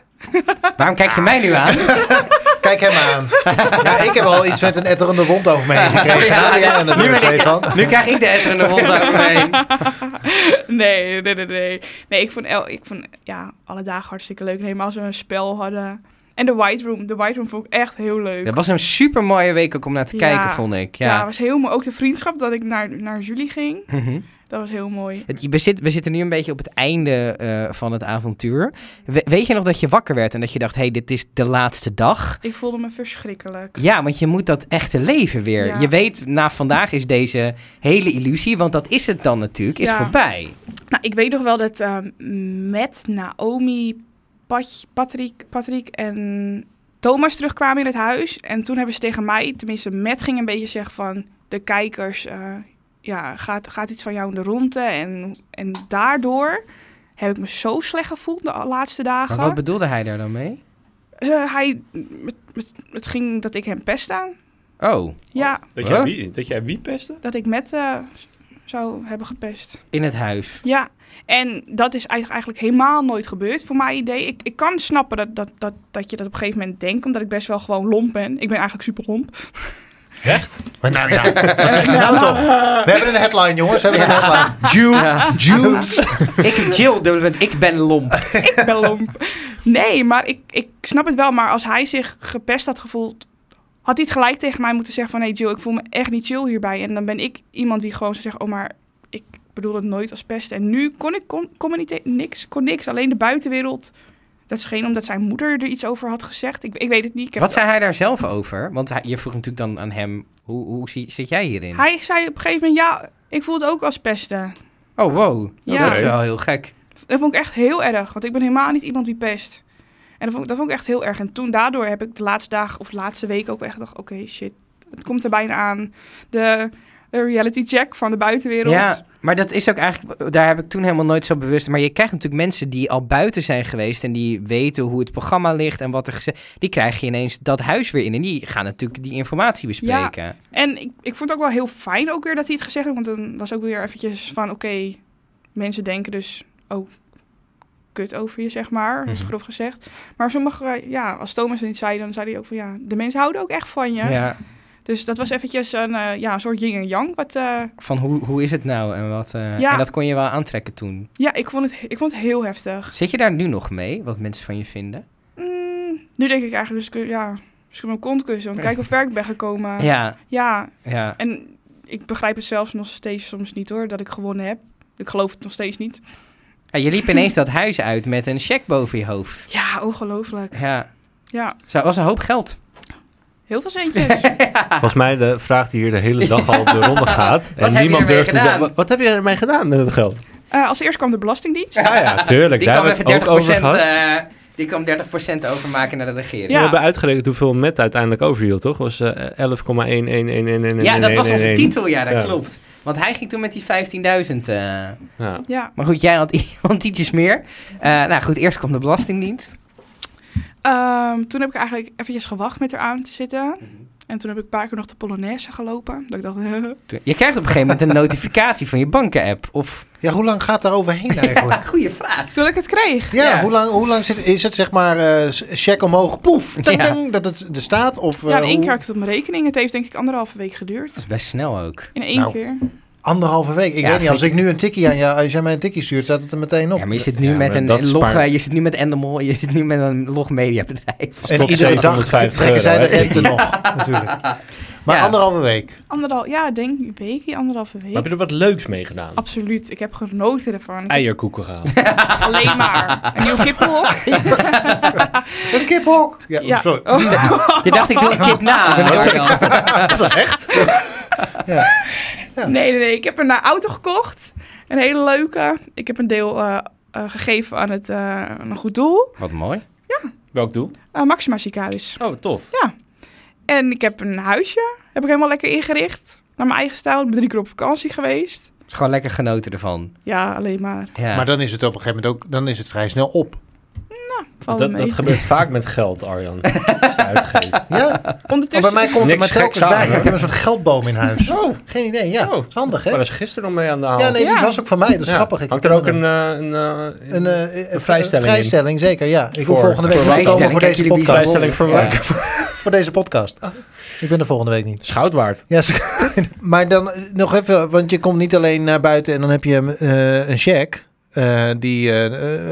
S1: Waarom kijk je mij nu aan?
S2: Kijk hem aan. ja, ik heb al iets met een etterende wond over me heen gekregen.
S1: Ja,
S2: Daar
S1: ja,
S2: ben Nou, jij
S1: nu ben
S2: natuurlijk
S1: ik-
S2: van.
S1: Nu krijg ik de etterende *laughs* wond
S4: *laughs*
S1: over me heen.
S4: nee, nee, nee, nee. Nee, ik vond, el, ik vond ja, alle dagen hartstikke leuk. En helemaal als we een spel hadden. En de White Room. De White Room vond ik echt heel leuk.
S1: Dat was een super mooie week ook om naar te
S4: Ja.
S1: kijken, vond ik.
S4: ja.
S1: Ja.
S4: was heel mooi. Ook de vriendschap dat ik naar, naar jullie ging.
S1: Mhm.
S4: Dat was heel mooi.
S1: Het- je bezit- we zitten nu een beetje op het einde eh, van het avontuur. We- weet je nog dat je wakker werd en dat je dacht, hé, hey, dit is de laatste dag?
S4: Ik voelde me verschrikkelijk.
S1: Ja, want je moet dat echte leven weer.
S4: Ja.
S1: Je weet, na vandaag is deze hele illusie, want dat is het dan natuurlijk, is
S4: Ja.
S1: voorbij.
S4: Nou, ik weet nog wel dat ehm, met Naomi, Pat, Patrick, Patrick en Thomas terugkwamen in het huis. En toen hebben ze tegen mij, tenminste met ging een beetje zeggen van de kijkers, eh, ja, gaat, gaat iets van jou in de ronde. En, en daardoor heb ik me zo slecht gevoeld de laatste dagen.
S1: Maar wat bedoelde hij daar dan mee?
S4: Eh, hij, het, het, het ging dat ik hem pest aan.
S1: Oh,
S4: Ja,
S3: Dat
S1: Huh?
S3: wie, dat jij wie pestte?
S4: dat ik met eh, zou hebben gepest.
S1: In het huis.
S4: Ja, en dat is eigenlijk eigenlijk helemaal nooit gebeurd voor mijn idee. Ik, ik kan snappen dat, dat, dat, dat je dat op een gegeven moment denkt, omdat ik best wel gewoon lomp ben. Ik ben eigenlijk super lomp.
S2: Echt? Maar nou, nou, wat zeg je nou toch? We hebben een headline, jongens. We hebben een headline. Juve, Juve.
S1: *laughs* Ik, Jill, dubbele punt, ik ben lomp.
S4: Ik ben lomp. Nee, maar ik, ik snap het wel. Maar als hij zich gepest had gevoeld, had hij het gelijk tegen mij moeten zeggen van... Hey Jill, ik voel me echt niet chill hierbij. En dan ben ik iemand die gewoon zou zeggen... Oh, maar ik bedoel het nooit als pesten. En nu kon ik kon, kon me niet te- niks. Kon niks. Alleen de buitenwereld. Dat scheen omdat zijn moeder er iets over had gezegd. Ik, ik weet het niet. Ik heb
S1: Wat zei hij daar zelf over? Want hij- je vroeg natuurlijk dan aan hem, hoe, hoe zie- zit jij hierin?
S4: Hij zei op een gegeven moment... Ja, ik voel het ook als pesten.
S1: Oh, wow.
S4: Ja.
S1: Dat is wel heel gek.
S4: Dat vond ik echt heel erg, want ik ben helemaal niet iemand die pest. En dat vond, ik- dat vond ik echt heel erg. En toen daardoor heb ik de laatste dagen of de laatste week ook echt gedacht... oké, shit, het komt er bijna aan. De, de reality check van de buitenwereld.
S1: Ja, maar dat is ook eigenlijk, daar heb ik toen helemaal nooit zo bewust. Maar je krijgt natuurlijk mensen die al buiten zijn geweest en die weten hoe het programma ligt en wat er gezegd Die krijg je ineens dat huis weer in en die gaan natuurlijk die informatie bespreken.
S4: En ik, ik vond het ook wel heel fijn ook weer dat hij het gezegd had. Want dan was ook weer eventjes van, oké, mensen denken dus ook kut over je, zeg maar. Dat is
S1: Mhm.
S4: grof gezegd. Maar sommige, eh, ja, als Thomas het niet zei, dan zei hij ook van, ja, de mensen houden ook echt van je.
S1: Ja,
S4: Dus dat was eventjes een, eh, ja, een soort yin en yang, wat... eh,
S1: van hoe, hoe is het nou en wat. eh,
S4: Ja.
S1: En dat kon je wel aantrekken toen.
S4: Ja, ik vond het, ik vond het heel heftig.
S1: Zit je daar nu nog mee, wat mensen van je vinden?
S4: Mm, nu denk ik eigenlijk, dus, ik- ja, dus ik mijn kont kussen. Want kijk hoe ver ik ben gekomen.
S1: ja,
S4: Ja,
S1: ja.
S4: en ik begrijp het zelfs nog steeds soms niet hoor, dat ik gewonnen heb. Ik geloof het nog steeds niet.
S1: En je liep ineens dat huis uit met een check boven je hoofd.
S4: Ja, ongelooflijk.
S1: Ja,
S4: Ja,
S1: zo was een hoop geld.
S4: heel veel centjes.
S3: Volgens mij de vraag die hier de hele dag al op de ronde gaat.
S1: heb
S3: en
S1: je
S3: niemand
S1: ermee
S3: durft te
S1: gedaan?
S3: zeggen. Wat, wat heb je ermee gedaan met het geld?
S4: Eh, als eerst kwam de Belastingdienst.
S3: Ja, ja, tuurlijk.
S1: Die
S3: daar
S1: kwam
S3: hebben
S1: even
S3: we het
S1: 30%,
S3: ook over gehad.
S1: eh, die kwam 30% overmaken naar de regering.
S4: Ja.
S3: We hebben uitgerekend hoeveel Met uiteindelijk overhield, toch? Was eh, 11,11111111.
S1: Ja, dat was onze titel, ja, dat
S3: Ja.
S1: klopt. Want hij ging toen met die 15.000. eh.
S3: Ja.
S4: Ja.
S1: Maar goed, jij had, *laughs* had ietsjes meer. Eh, nou goed, eerst kwam de Belastingdienst.
S4: Ehm, toen heb ik eigenlijk eventjes gewacht met haar aan te zitten. En toen heb ik een paar keer nog de Polonaise gelopen. Dat ik dacht, *laughs*
S1: Toen- Je krijgt op een gegeven moment een notificatie van je banken-app. Of...
S2: Ja, hoe lang gaat daar overheen eigenlijk?
S1: Goeie vraag.
S4: toen ik het kreeg.
S2: Ja,
S1: Ja.
S2: Hoe, lang, hoe lang zit, is het zeg maar eh, s- check omhoog, poef, ding,
S1: Ja.
S2: ding, dat het er staat? Of, eh,
S4: Ja, in één
S2: hoe-
S4: keer had ik het op mijn rekening. Het heeft denk ik anderhalve week
S1: Dat
S4: geduurd.
S1: is best snel ook.
S4: In één
S2: Nou,
S4: keer.
S2: Anderhalve week. Ik
S1: Ja,
S2: weet niet, als
S1: vind
S2: ik nu een tikkie aan jou, als jij mij een tikkie stuurt, staat het er meteen op.
S1: Ja, maar je zit nu
S3: Ja,
S1: met
S3: maar
S1: een
S3: dat
S1: een log,
S3: spaart-
S1: eh, je zit nu met Endemol, je zit nu met een log
S2: *laughs*
S1: mediabedrijf.
S2: en iedere
S3: tot
S2: dag
S3: 750
S2: trekken zij de
S3: euro, hè?
S2: rente
S3: *laughs*
S2: nog, natuurlijk. Maar
S1: Ja.
S2: anderhalve week.
S4: Anderhal, ja, denk een weekje, anderhalve week.
S3: Maar heb je er wat leuks mee gedaan?
S4: Absoluut, ik heb genoten ervan. Ik heb
S3: Eierkoeken gehaald.
S4: alleen maar een nieuwe kippel.
S2: Een kiphok. Ja,
S4: Ja.
S2: sorry. Ah,
S4: Oh,
S1: Je dacht, ik doe een kip na. Marjan.
S2: Dat is echt.
S4: *laughs* nee, nee, nee. Ik heb een eh, auto gekocht. Een hele leuke. Ik heb een deel eh, eh, gegeven aan het, eh, aan een goed doel.
S1: Wat mooi.
S3: Welk doel?
S4: Eh, Maxima ziekenhuis.
S3: Oh, tof.
S4: En ik heb een huisje. Heb ik helemaal lekker ingericht. Naar mijn eigen stijl. Ik ben drie keer op vakantie geweest.
S1: Dus gewoon lekker genoten ervan.
S4: Ja, alleen maar.
S1: Ja.
S2: Maar dan is het op een gegeven moment ook, dan is het vrij snel op.
S4: Valt
S3: Dat,
S4: mee.
S3: dat gebeurt vaak met geld,
S1: *laughs*
S3: Arjan. Als je uitgeeft.
S2: Ja, maar bij
S4: Ondertussen...
S2: mij komt het
S3: niks
S2: maar telkens
S3: geks aan,
S2: bij. Ik
S3: hoor.
S2: heb een soort geldboom in
S3: *laughs*
S2: huis.
S3: Oh,
S2: Geen idee, ja.
S3: Oh.
S2: is handig, hè?
S3: maar dat is gisteren nog mee aan de hand.
S2: Ja, nee, die
S4: Ja.
S2: was ook van mij. Dat is
S3: Ja.
S2: grappig. Ik
S3: Hangt
S2: heb
S3: er ook een... eh, een, eh,
S2: een, eh, eh,
S3: een vrijstelling in?
S2: vrijstelling, zeker, ja. Ik wil
S3: Voor-
S2: volgende week
S3: voor
S2: vrijkomen
S1: vrijstelling.
S2: voor deze
S1: Kijken jullie
S2: podcast.
S3: vrijstelling voor
S1: Ja.
S3: wat?
S2: Voor deze podcast. Ik ben er volgende week niet.
S3: Schout waard.
S2: Ja, ze- *laughs* maar dan eh, nog even, want je komt niet alleen naar buiten en dan heb je eh, een check. eh, die eh,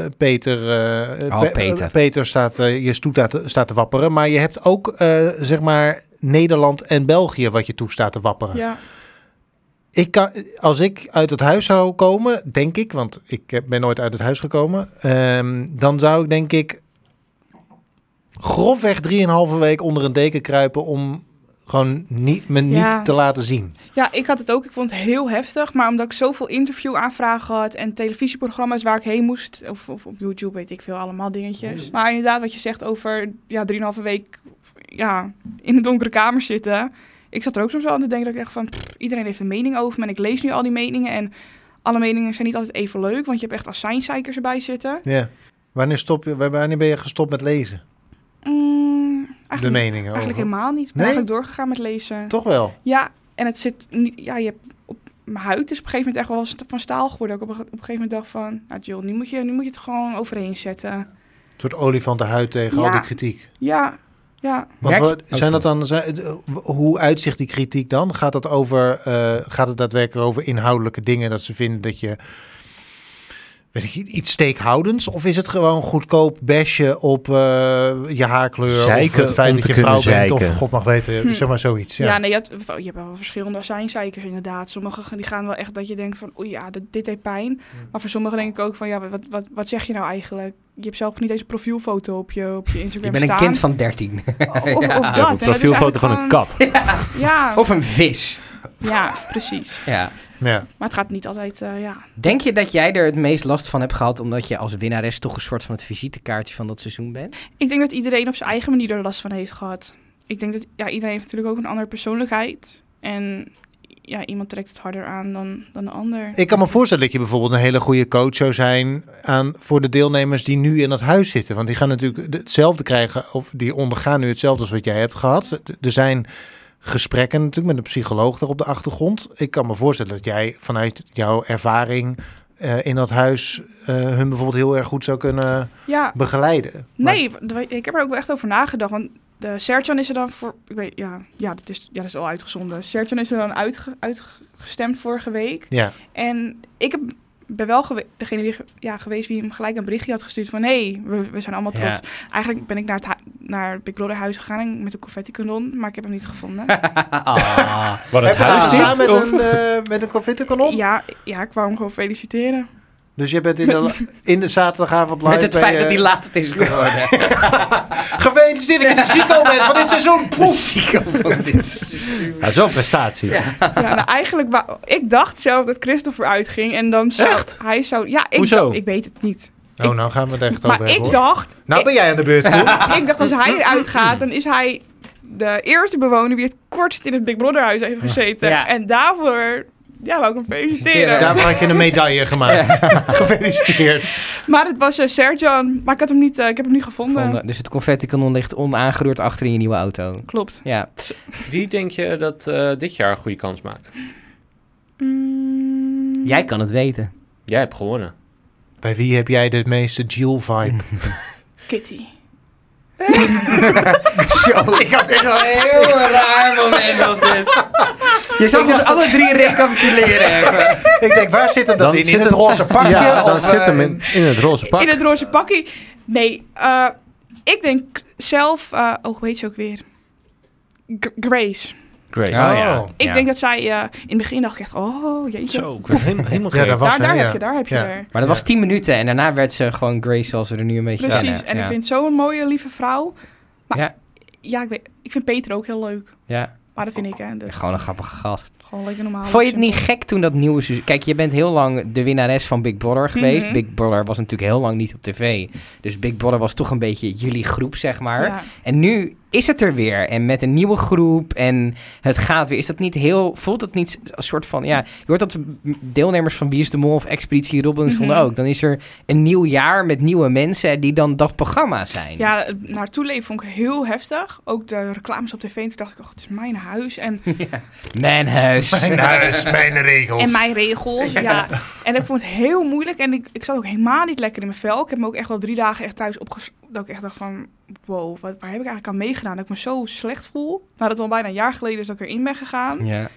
S2: eh, Peter, eh,
S1: Oh,
S2: Pe-
S1: Peter.
S2: Peter staat, eh, je stoet staat, te- staat te wapperen. Maar je hebt ook, eh, zeg maar, Nederland en België wat je toe staat te wapperen.
S4: Ja.
S2: Ik kan, als ik uit het huis zou komen, denk ik, want ik eh, ben nooit uit het huis gekomen. ehm, dan zou ik denk ik grofweg drieënhalve week onder een deken kruipen om gewoon niet, me niet
S4: Ja.
S2: te laten zien.
S4: Ja, ik had het ook. Ik vond het heel heftig. Maar omdat ik zoveel interviewaanvragen had en televisieprogramma's waar ik heen moest. Of, of op YouTube weet ik veel, allemaal dingetjes. Maar inderdaad, wat je zegt over ja, drieënhalve week ja, in een donkere kamer zitten. Ik zat er ook soms wel aan te denken dat ik echt van... pff, iedereen heeft een mening over me en ik lees nu al die meningen. En alle meningen zijn niet altijd even leuk, want je hebt echt assignzeikers erbij zitten.
S2: Ja. Wanneer, stop je, wa- wanneer ben je gestopt met lezen?
S4: Mm, eigenlijk,
S2: de meningen over.
S4: Eigenlijk helemaal niet. Ik ben
S2: Nee?
S4: eigenlijk doorgegaan met lezen.
S2: Toch wel?
S4: Ja, en het zit niet. Ja, je hebt op mijn huid is op een gegeven moment echt wel st- van staal geworden. Dat Ik op een, op een gegeven moment dacht van, nou Jill, nu moet je, nu moet je het gewoon overheen zetten.
S2: Een soort olifantenhuid tegen al
S4: Ja.
S2: die kritiek.
S4: Ja, ja.
S2: Want
S1: Merk je-
S2: wat- zijn dat
S3: Oh,
S2: dan, zijn, eh, hoe uitzicht die kritiek dan? Gaat, dat over, eh, gaat het daadwerkelijk over inhoudelijke dingen dat ze vinden dat je weet ik, niet, iets steekhoudends? Of is het gewoon goedkoop bashen op eh, je haarkleur
S3: Zeiken
S2: of het feit
S3: om
S2: dat
S3: te
S2: je vrouw
S3: kunnen
S2: bent of
S3: zeiken.
S2: god mag weten,
S4: Hm.
S2: zeg maar zoiets.
S4: Ja,
S2: Ja.
S4: nee, je, had- je hebt wel verschillende azijnzeikers inderdaad. Sommigen die gaan wel echt dat je denkt van, oei ja, dit, dit deed pijn. Maar voor sommigen denk ik ook van, ja, wat, wat, wat zeg je nou eigenlijk? Je hebt zelf niet eens een profielfoto op je, op je
S1: Je
S4: Instagram
S1: bent een
S4: staan.
S1: kind van 13. *laughs* Ah,
S4: Of, of dat.
S3: Ja,
S4: hè,
S1: Dus
S3: een
S4: dat is
S2: dus
S3: profielfoto
S4: eigenlijk
S3: van een kat.
S4: Ja,
S1: Of een vis.
S4: ja, precies.
S1: Ja.
S2: Ja.
S4: Maar het gaat niet altijd, eh, ja.
S1: Denk je dat jij er het meest last van hebt gehad omdat je als winnares toch een soort van het visitekaartje van dat seizoen *laughs* bent?
S4: Ik denk dat iedereen op zijn eigen manier er last van heeft gehad. Ik denk dat ja, iedereen heeft natuurlijk ook een andere persoonlijkheid. En ja, iemand trekt het harder aan dan, dan de ander.
S2: Ik kan me voorstellen dat je bijvoorbeeld een hele goede coach zou zijn aan, voor de deelnemers die nu in dat huis zitten. Want die gaan natuurlijk hetzelfde krijgen, of die ondergaan nu hetzelfde als wat jij hebt gehad. Er zijn gesprekken natuurlijk met een psycholoog daar op de achtergrond. Ik kan me voorstellen dat jij vanuit jouw ervaring eh, in dat huis eh, hun bijvoorbeeld heel erg goed zou kunnen
S4: Ja,
S2: begeleiden. Maar-
S4: nee, w- d- ik heb er ook wel echt over nagedacht. Want de Serjan is er dan voor. Ik weet, ja, ja, dat is, ja, dat is al uitgezonden. Serjan is er dan uitge- uitgestemd vorige week.
S2: ja,
S4: En ik heb, ben wel gewe- degene die, ge- ja, geweest wie hem gelijk een berichtje had gestuurd van... hé, hey, we, we zijn allemaal
S1: Ja.
S4: trots. Eigenlijk ben ik naar het hu- naar Big Brother huis gegaan en met een confetti kanon, maar ik heb hem niet gevonden.
S1: Ah.
S3: Wat
S2: Heb
S3: het
S2: je
S3: huis
S2: dat
S1: dit?
S2: gedaan
S3: is.
S2: met een, eh met een confittenkanon?
S4: ja, ja, ik wou hem gewoon feliciteren.
S2: Dus je bent in de, in de zaterdagavond live
S1: Met het
S2: bij,
S1: feit dat
S2: eh,
S1: die laatst is *laughs* geworden.
S2: Gefeliciteerd dat je de zico bent van dit
S1: *laughs*
S2: seizoen.
S1: De
S2: Poef.
S1: ziekte van *laughs* dit seizoen.
S3: Ja, Zo'n prestatie.
S4: ja, nou, eigenlijk, wou- ik dacht zelf dat Christopher uitging en dan zou hij zou... Ja, ik,
S3: Hoezo?
S4: dacht- ik weet het niet.
S2: Oh, nou gaan we het echt
S4: maar
S2: over hebben.
S4: ik
S2: hoor.
S4: dacht,
S2: Nou ben jij aan de beurt, *laughs* Koen.
S4: ik dacht als hij eruit gaat, dan is hij de eerste bewoner die het kortst in het Big Brother huis heeft gezeten.
S1: Ja.
S4: En daarvoor... Ja, wou ik hem feliciteren.
S1: Ja.
S2: Daarvoor had je een medaille gemaakt. *laughs* Gefeliciteerd.
S4: Maar het was eh, Sergio. Maar ik, had hem niet, eh, ik heb hem niet gevonden.
S1: Vonden. Dus het confetti-kanon ligt onaangeroerd achter in je nieuwe auto.
S4: Klopt.
S1: Ja.
S3: Wie denk je dat eh, dit jaar een goede kans maakt?
S1: Jij kan het weten. *laughs*
S3: Jij hebt gewonnen.
S2: Bij wie heb jij de meeste Jill-vibe?
S4: Kitty.
S1: Zo, ik had echt een heel raar moment als dit. *laughs* Je zou ons alle drie recapituleren *laughs* hebben.
S2: *laughs* Ik denk, waar zit hem dat in? In het roze pakje?
S3: Ja, dan
S2: of,
S3: zit hem
S2: eh,
S3: in, in het roze pak.
S4: In het roze pakkie. Nee, eh, ik denk zelf... eh oh, hoe heet ze ook weer? G- Grace.
S3: Great.
S2: Ja.
S4: Ik denk dat zij... eh, in het begin dacht ik echt... Oh, jeetje.
S3: Zo, ik werd helemaal, helemaal
S2: Ja, daar
S3: gek.
S2: was hij,
S4: daar daar
S2: ja.
S4: heb je, daar heb je
S2: Ja.
S4: er.
S1: Maar dat was 10 minuten en daarna werd ze gewoon Grace zoals we er nu een beetje
S4: Precies.
S1: kennen.
S4: en
S1: ja.
S4: ik vind zo'n mooie, lieve vrouw. Maar
S1: Ja.
S4: ja, ik, weet, ik vind Peter ook heel leuk.
S1: Ja,
S4: Maar dat vind ik, hè. Dat is
S1: gewoon een grappige gast.
S4: gewoon lekker normaal.
S1: Vond je het niet gek toen dat nieuwe seizoen... Kijk, je bent heel lang de winnares van Big Brother geweest.
S4: Mhm.
S1: Big Brother was natuurlijk heel lang niet op tv. Dus Big Brother was toch een beetje jullie groep, zeg maar.
S4: Ja.
S1: En nu is het er weer. En met een nieuwe groep en het gaat weer. Is dat niet heel... Voelt het niet een soort van... Ja, je hoort dat deelnemers van Wie is de Mol of Expeditie Robbins
S4: Mhm.
S1: vonden ook. Dan is er een nieuw jaar met nieuwe mensen die dan dat programma zijn.
S4: Ja, het naartoe leven vond ik heel heftig. Ook de reclames op tv. En toen dacht ik, oh, het is mijn huis en,
S1: Mijn huis.
S2: *laughs* Mijn huis, mijn regels.
S4: en mijn
S1: *laughs*
S4: regels. Ja. En ik vond het heel moeilijk. En ik, ik zat ook helemaal niet lekker in mijn vel. Ik heb me ook echt wel drie dagen echt thuis opges... Dat ik echt dacht van, wow, wat, waar heb ik eigenlijk aan meegedaan? Dat ik me zo slecht voel. Nadat het al bijna een jaar geleden is dat ik erin ben gegaan.
S1: Ja.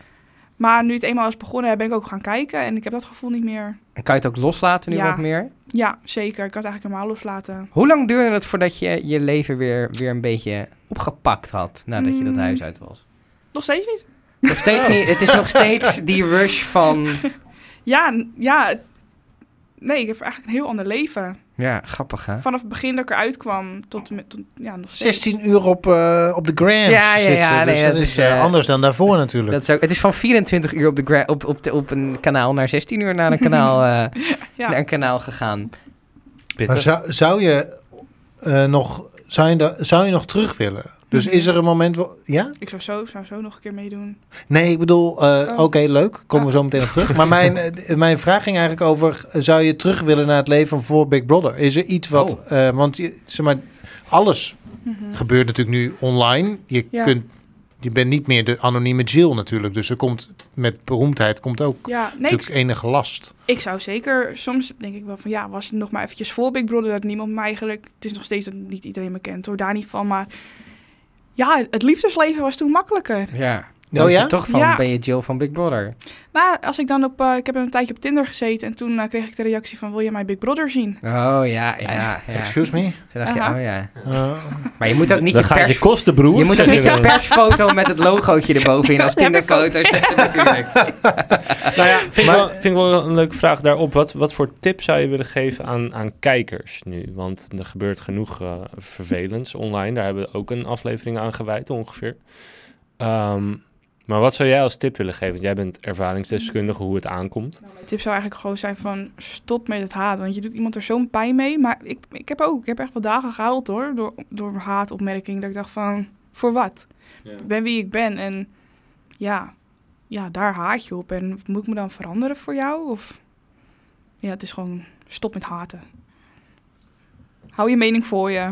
S4: Maar nu het eenmaal is begonnen, ben ik ook gaan kijken. En ik heb dat gevoel niet meer.
S1: En kan je het ook loslaten nu
S4: Ja.
S1: wat meer?
S4: Ja, zeker. Ik had het eigenlijk helemaal loslaten.
S1: Hoe lang duurde het voordat je je leven weer, weer een beetje opgepakt had nadat je dat
S4: Mm.
S1: huis uit was?
S4: Nog steeds niet.
S1: Nog steeds niet, het is nog
S4: *laughs*
S1: steeds die rush van.
S4: Ja, n- ja. het- Nee, ik heb eigenlijk een heel ander leven.
S1: Ja, grappig hè?
S4: Vanaf het begin dat ik eruit kwam tot, en met, tot ja, nog steeds.
S2: 16 uur op, eh, op de Grams
S1: Ja, ja,
S2: zit ze.
S1: ja,
S2: Dus
S1: nee,
S2: dat,
S1: dat
S2: is
S1: is,
S2: eh,
S1: eh,
S2: anders dan daarvoor natuurlijk.
S1: Dat is ook, het is van 24 uur op, de gra- op, op, de, op een kanaal naar 16 uur naar een
S4: *laughs*
S1: kanaal, eh,
S4: Ja.
S1: naar een kanaal gegaan.
S2: maar
S3: Pittig.
S2: zou, zou je eh, nog... Zou je, da- zou je nog terug willen? Dus
S4: Mhm.
S2: is er een moment... wa- Ja?
S4: Ik zou zo, zou zo nog een keer meedoen.
S2: Nee, ik bedoel, eh,
S1: Oh.
S2: oké, leuk. Komen
S1: Ah.
S2: we zo meteen op terug. Maar
S1: *laughs*
S2: mijn, eh, mijn vraag ging eigenlijk over: eh, zou je terug willen naar het leven voor Big Brother? Is er iets wat.
S1: Oh.
S2: eh, want je, zeg maar, alles
S4: Mhm.
S2: gebeurt natuurlijk nu online. Je
S4: Ja.
S2: kunt Je bent niet meer de anonieme Jill natuurlijk. Dus er komt met beroemdheid komt ook
S4: Ja, nee, ik,
S2: natuurlijk enige last.
S4: ik zou zeker, soms denk ik wel van ja, was het nog maar eventjes voor Big Brother dat niemand me eigenlijk, het is nog steeds dat niet iedereen me kent hoor, daar niet van, maar ja, het liefdesleven was toen makkelijker.
S1: Ja.
S2: Oh ja?
S1: Toch van,
S4: Ja.
S1: ben je Jill van Big Brother?
S4: Nou, als ik dan op, eh, ik heb een tijdje op Tinder gezeten en toen eh, kreeg ik de reactie van wil je mijn Big Brother zien?
S1: Oh ja, ja, ja.
S2: Excuse
S1: *laughs*
S2: me?
S1: Toen dacht je,
S4: Aha.
S1: oh ja.
S2: Eh,
S1: Maar je moet ook niet
S3: Dan
S1: je
S3: gaat
S1: pers...
S3: je kosten, broer.
S1: Je moet ook *laughs*
S3: Zeg
S1: niet je
S3: je dan.
S1: persfoto met het logootje erbovenin als
S4: dat *laughs* heb ik
S1: Tinderfoto
S4: *laughs*
S1: zetten natuurlijk.
S3: Nou ja, vind,
S2: Maar-
S3: ik wel, vind ik wel een leuke vraag daarop. Wat, wat voor tip zou je willen geven aan, aan kijkers nu? Want er gebeurt genoeg eh, vervelends online. Daar hebben we ook een aflevering aan gewijd ongeveer. Ehm, maar wat zou jij als tip willen geven? Want jij bent ervaringsdeskundige hoe het aankomt.
S4: Nou, mijn tip zou eigenlijk gewoon zijn van stop met het haat. Want je doet iemand er zo'n pijn mee. Maar ik, ik heb ook, ik heb echt wel dagen gehuild hoor. Door, door haatopmerking. Dat ik dacht van, voor wat? Ik ben wie ik ben. En ja, ja, daar haat je op. En moet ik me dan veranderen voor jou? Of ja, het is gewoon stop met haten. Hou je mening voor je.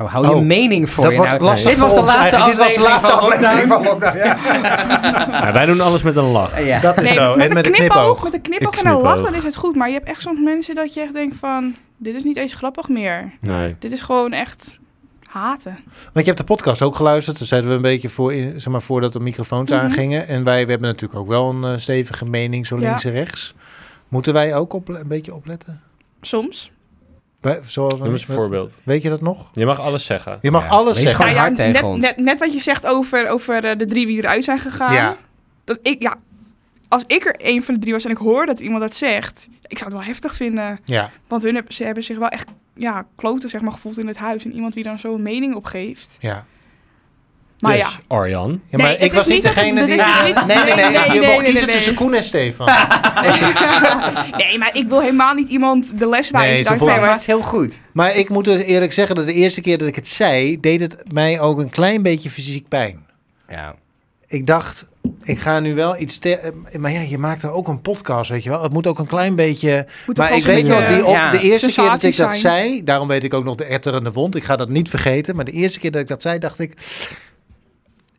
S1: Oh, hou je
S2: Oh,
S1: mening voor
S2: dat
S1: je
S2: wordt
S1: nou.
S2: lastig
S1: Dit was
S2: voor
S1: de
S2: ons
S1: laatste
S2: eigenlijk. Dit was de
S1: aflevering
S2: laatste
S1: van
S2: aflevering
S1: Lockdown.
S2: van Lockdown. Ja.
S3: Ja, Ah, wij doen alles met een
S2: *laughs*
S3: lach.
S1: Ja.
S2: Dat is zo. En met een knipoog.
S4: Met een knipoog
S3: Ik
S4: en een lach,
S3: knipoog.
S4: dan is het goed. Maar je hebt echt soms mensen dat je echt denkt van... Dit is niet eens grappig meer.
S3: Nee.
S4: Dit is gewoon echt haten.
S2: Want je hebt de podcast ook geluisterd. Daar zeiden we een beetje voor, in- zeg maar, voordat de microfoons
S4: Mhm.
S2: aangingen. En wij we hebben natuurlijk ook wel een eh, stevige mening, zo
S4: Ja.
S2: links en rechts. Moeten wij ook op, een beetje opletten?
S4: Soms.
S2: Bij- zoals
S3: Noem eens een
S2: met-
S3: voorbeeld.
S2: Weet je dat nog?
S3: Je mag alles zeggen.
S2: Je mag
S1: Ja,
S2: alles
S1: wees
S2: zeggen.
S1: Gewoon
S4: Nou ja,
S1: hard tegen
S4: net,
S1: ons.
S4: Net, net wat je zegt over, over eh, de drie die eruit zijn gegaan.
S2: Ja.
S4: Dat ik, ja, als ik er een van de drie was en ik hoor dat iemand dat zegt, ik zou het wel heftig vinden.
S2: Ja.
S4: Want hun hebben, ze hebben zich wel echt ja, kloten zeg maar, gevoeld in het huis. En iemand die dan zo'n mening opgeeft.
S2: Ja.
S4: Maar
S3: dus,
S4: ja, *laughs*
S3: Arjan.
S2: Ja, maar
S4: Nee, het
S2: ik
S4: is
S2: was niet
S4: niet dat-
S2: degene
S4: dat
S2: die...
S4: is dus niet-
S2: nee, nee, nee,
S4: nee, nee,
S2: Je
S4: nee,
S2: mocht
S4: nee,
S2: kiezen
S4: nee.
S2: tussen Koen en
S4: *laughs*
S2: Stefan.
S1: *laughs*
S4: nee, maar ik wil helemaal niet iemand de les
S2: Nee,
S4: wijzen.
S2: zo
S4: daarvan,
S2: voel ik
S1: Nee, maar
S4: maar-
S1: het is heel goed.
S2: Maar ik moet dus eerlijk zeggen dat de eerste keer dat ik het zei... deed het mij ook een klein beetje fysiek pijn.
S1: Ja.
S2: Ik dacht, ik ga nu wel iets... te- eh, Maar ja, je maakt er ook een podcast, weet je wel. Het moet ook een klein beetje...
S4: Moet
S2: Maar
S4: toch
S2: ik
S4: ook een
S2: weet wel,
S4: beetje- eh,
S2: die op,
S1: ja,
S2: de eerste keer dat ik
S4: sensatie
S2: dat
S4: zijn.
S2: zei... daarom weet ik ook nog de etterende wond. Ik ga dat niet vergeten. Maar de eerste keer dat ik dat zei, dacht ik...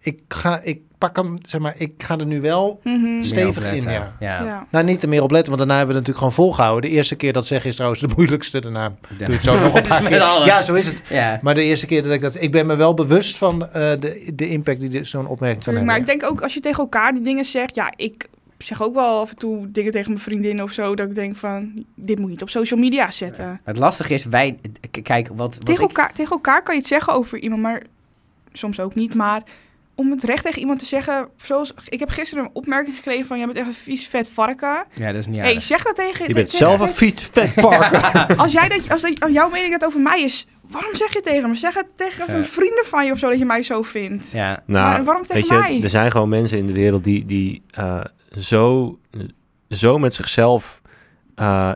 S2: Ik ga, ik pak hem, zeg maar, ik ga er nu wel...
S4: Mhm.
S2: Stevig
S1: Meer opletten.
S2: in, ja.
S1: ja.
S4: Ja.
S2: Nou, niet er meer op letten, want daarna hebben we het natuurlijk gewoon volgehouden. De eerste keer dat zeggen is trouwens de moeilijkste. Daarna doe je het
S1: *laughs*
S2: zo nog een paar
S1: met
S2: keer.
S1: alles.
S2: Ja, zo is het.
S1: Ja.
S2: Maar de eerste keer dat ik dat... Ik ben me wel bewust van eh, de, de impact die dit- zo'n opmerking kan
S4: Tuurlijk, maar ik
S2: hebben.
S4: denk ook als je tegen elkaar die dingen zegt. Ja, ik zeg ook wel af en toe dingen tegen mijn vriendin of zo. Dat ik denk van, dit moet ik niet op social media zetten.
S1: Het lastige is, wij... k- Kijk, wat, wat
S4: Tegen
S1: ik-
S4: elkaar, tegen elkaar kan je het zeggen over iemand, maar soms ook niet. Maar om het recht tegen iemand te zeggen, zoals ik heb gisteren een opmerking gekregen van jij bent echt een vies vet varken.
S1: Ja, dat is niet
S4: Hé, hey,
S1: aardig.
S4: zeg dat tegen.
S3: Je bent
S4: tegen-
S3: zelf een fiets, vet varken.
S4: Als jij dat, als, dat- als jouw mening dat over mij is, waarom zeg je tegen me? Zeg het tegen
S1: Ja.
S4: een vrienden van je of zo dat je mij zo vindt.
S1: Ja.
S3: Nou.
S4: Maar waarom tegen
S3: weet je, dus
S4: mij?
S3: Er zijn gewoon mensen in de wereld die, die eh, zo, zo met zichzelf eh,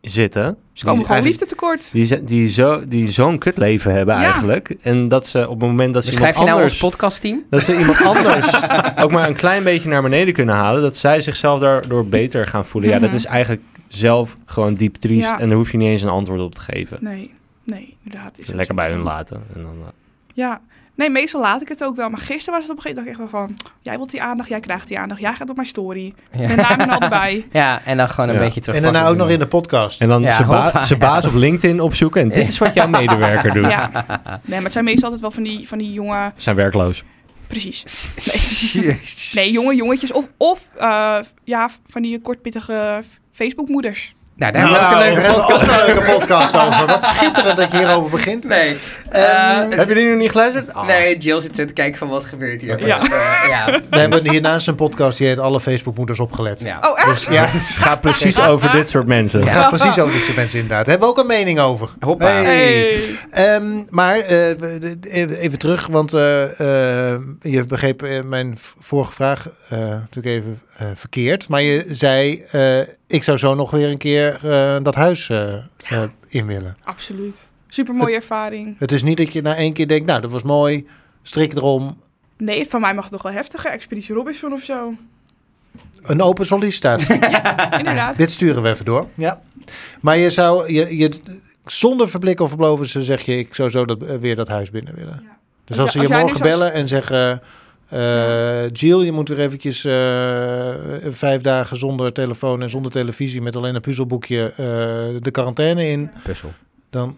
S3: zitten.
S4: Ze komen
S3: Die
S4: gewoon
S3: eigenlijk-
S4: liefde tekort.
S3: Die, zijn- die, zo, die zo'n kutleven hebben
S4: Ja.
S3: eigenlijk. En dat ze op het moment dat ze
S1: Schrijf je
S3: iemand
S1: nou ons
S3: anders...
S1: podcastteam?
S3: dat ze
S1: *laughs*
S3: iemand anders ook maar een klein beetje naar beneden kunnen halen. Dat zij zichzelf daardoor beter gaan voelen. Ja,
S4: Mhm.
S3: dat is eigenlijk zelf gewoon diep triest.
S4: Ja.
S3: En daar hoef je niet eens een antwoord op te geven.
S4: Nee, nee, inderdaad. Is dat
S3: Lekker
S4: zo.
S3: bij hun laten. En dan, eh,
S4: Ja. Nee, meestal laat ik het ook wel. Maar gisteren was het op een gegeven moment dat ik echt wel van... Jij wilt die aandacht, jij krijgt die aandacht. Jij gaat op mijn
S3: *laughs*
S4: story.
S1: Ja.
S4: *laughs* Mijn naam en al erbij.
S1: *laughs* Ja, en dan gewoon een
S3: Ja.
S1: beetje terug.
S2: En daarna ook nog in de podcast.
S3: en dan
S1: Ja,
S3: zijn ba-
S1: hoppa,
S3: zijn baas op LinkedIn opzoeken. En dit is wat jouw
S4: *laughs*
S3: medewerker doet.
S4: Ja. Nee, maar het zijn meestal altijd wel van die, van die jonge...
S3: Zijn werkloos.
S4: Precies.
S2: *laughs*
S4: Nee, jonge jongetjes. Of, of eh, ja, van die kortpittige Facebookmoeders.
S1: Nou, daar hebben we ook een leuke
S2: daar hebben
S1: podcast.
S2: we
S1: *laughs*
S2: ook een leuke podcast over. Wat schitterend dat je hierover begint.
S1: Nee.
S2: Ehm,
S1: Eh,
S3: Heb je die nog niet geluisterd? Ah.
S1: Nee, Jill zit te kijken van wat gebeurt hier.
S4: Ja.
S1: Eh, ja.
S2: We hebben hiernaast een podcast die heet Alle Facebookmoeders opgelet.
S1: ja.
S4: Oh, echt?
S2: Dus ja, het
S3: Het gaat precies over dit soort mensen.
S1: Ja.
S2: gaat precies over dit soort mensen inderdaad. Daar hebben we ook een mening over.
S1: Hoppa.
S3: Dus-
S1: *laughs*
S4: Hey.
S2: Ehm, maar eh, we- de- de- even even terug, want eh, eh, je begreep eh, mijn v- vorige vraag eh, natuurlijk even eh, verkeerd. Maar je zei, eh, ik zou zo nog weer een keer eh, dat huis eh, eh, in willen.
S4: Absoluut. Supermooie ervaring.
S2: Het is niet dat je na één keer denkt, nou dat was mooi, strik erom,
S4: Nee, het van mij mag nog wel heftiger. Expeditie Robinson of
S3: *laughs*
S4: zo.
S2: een open sollicitatie.
S4: Inderdaad.
S2: Dit sturen we even door. Ja. Maar je zou, je, je, zonder verblikken of beloven, zeg je, ik zou zo dat, eh, weer dat huis binnen willen.
S4: Ja.
S2: Dus
S4: Als
S2: als ze
S4: jij-
S2: je
S4: als jij nu
S2: morgen
S4: zou-
S2: bellen en zeggen, eh, Eh, Jill, je moet weer eventjes eh, vijf dagen zonder telefoon en zonder televisie met alleen een puzzelboekje eh, de quarantaine in.
S1: Puzzel.
S2: Dan,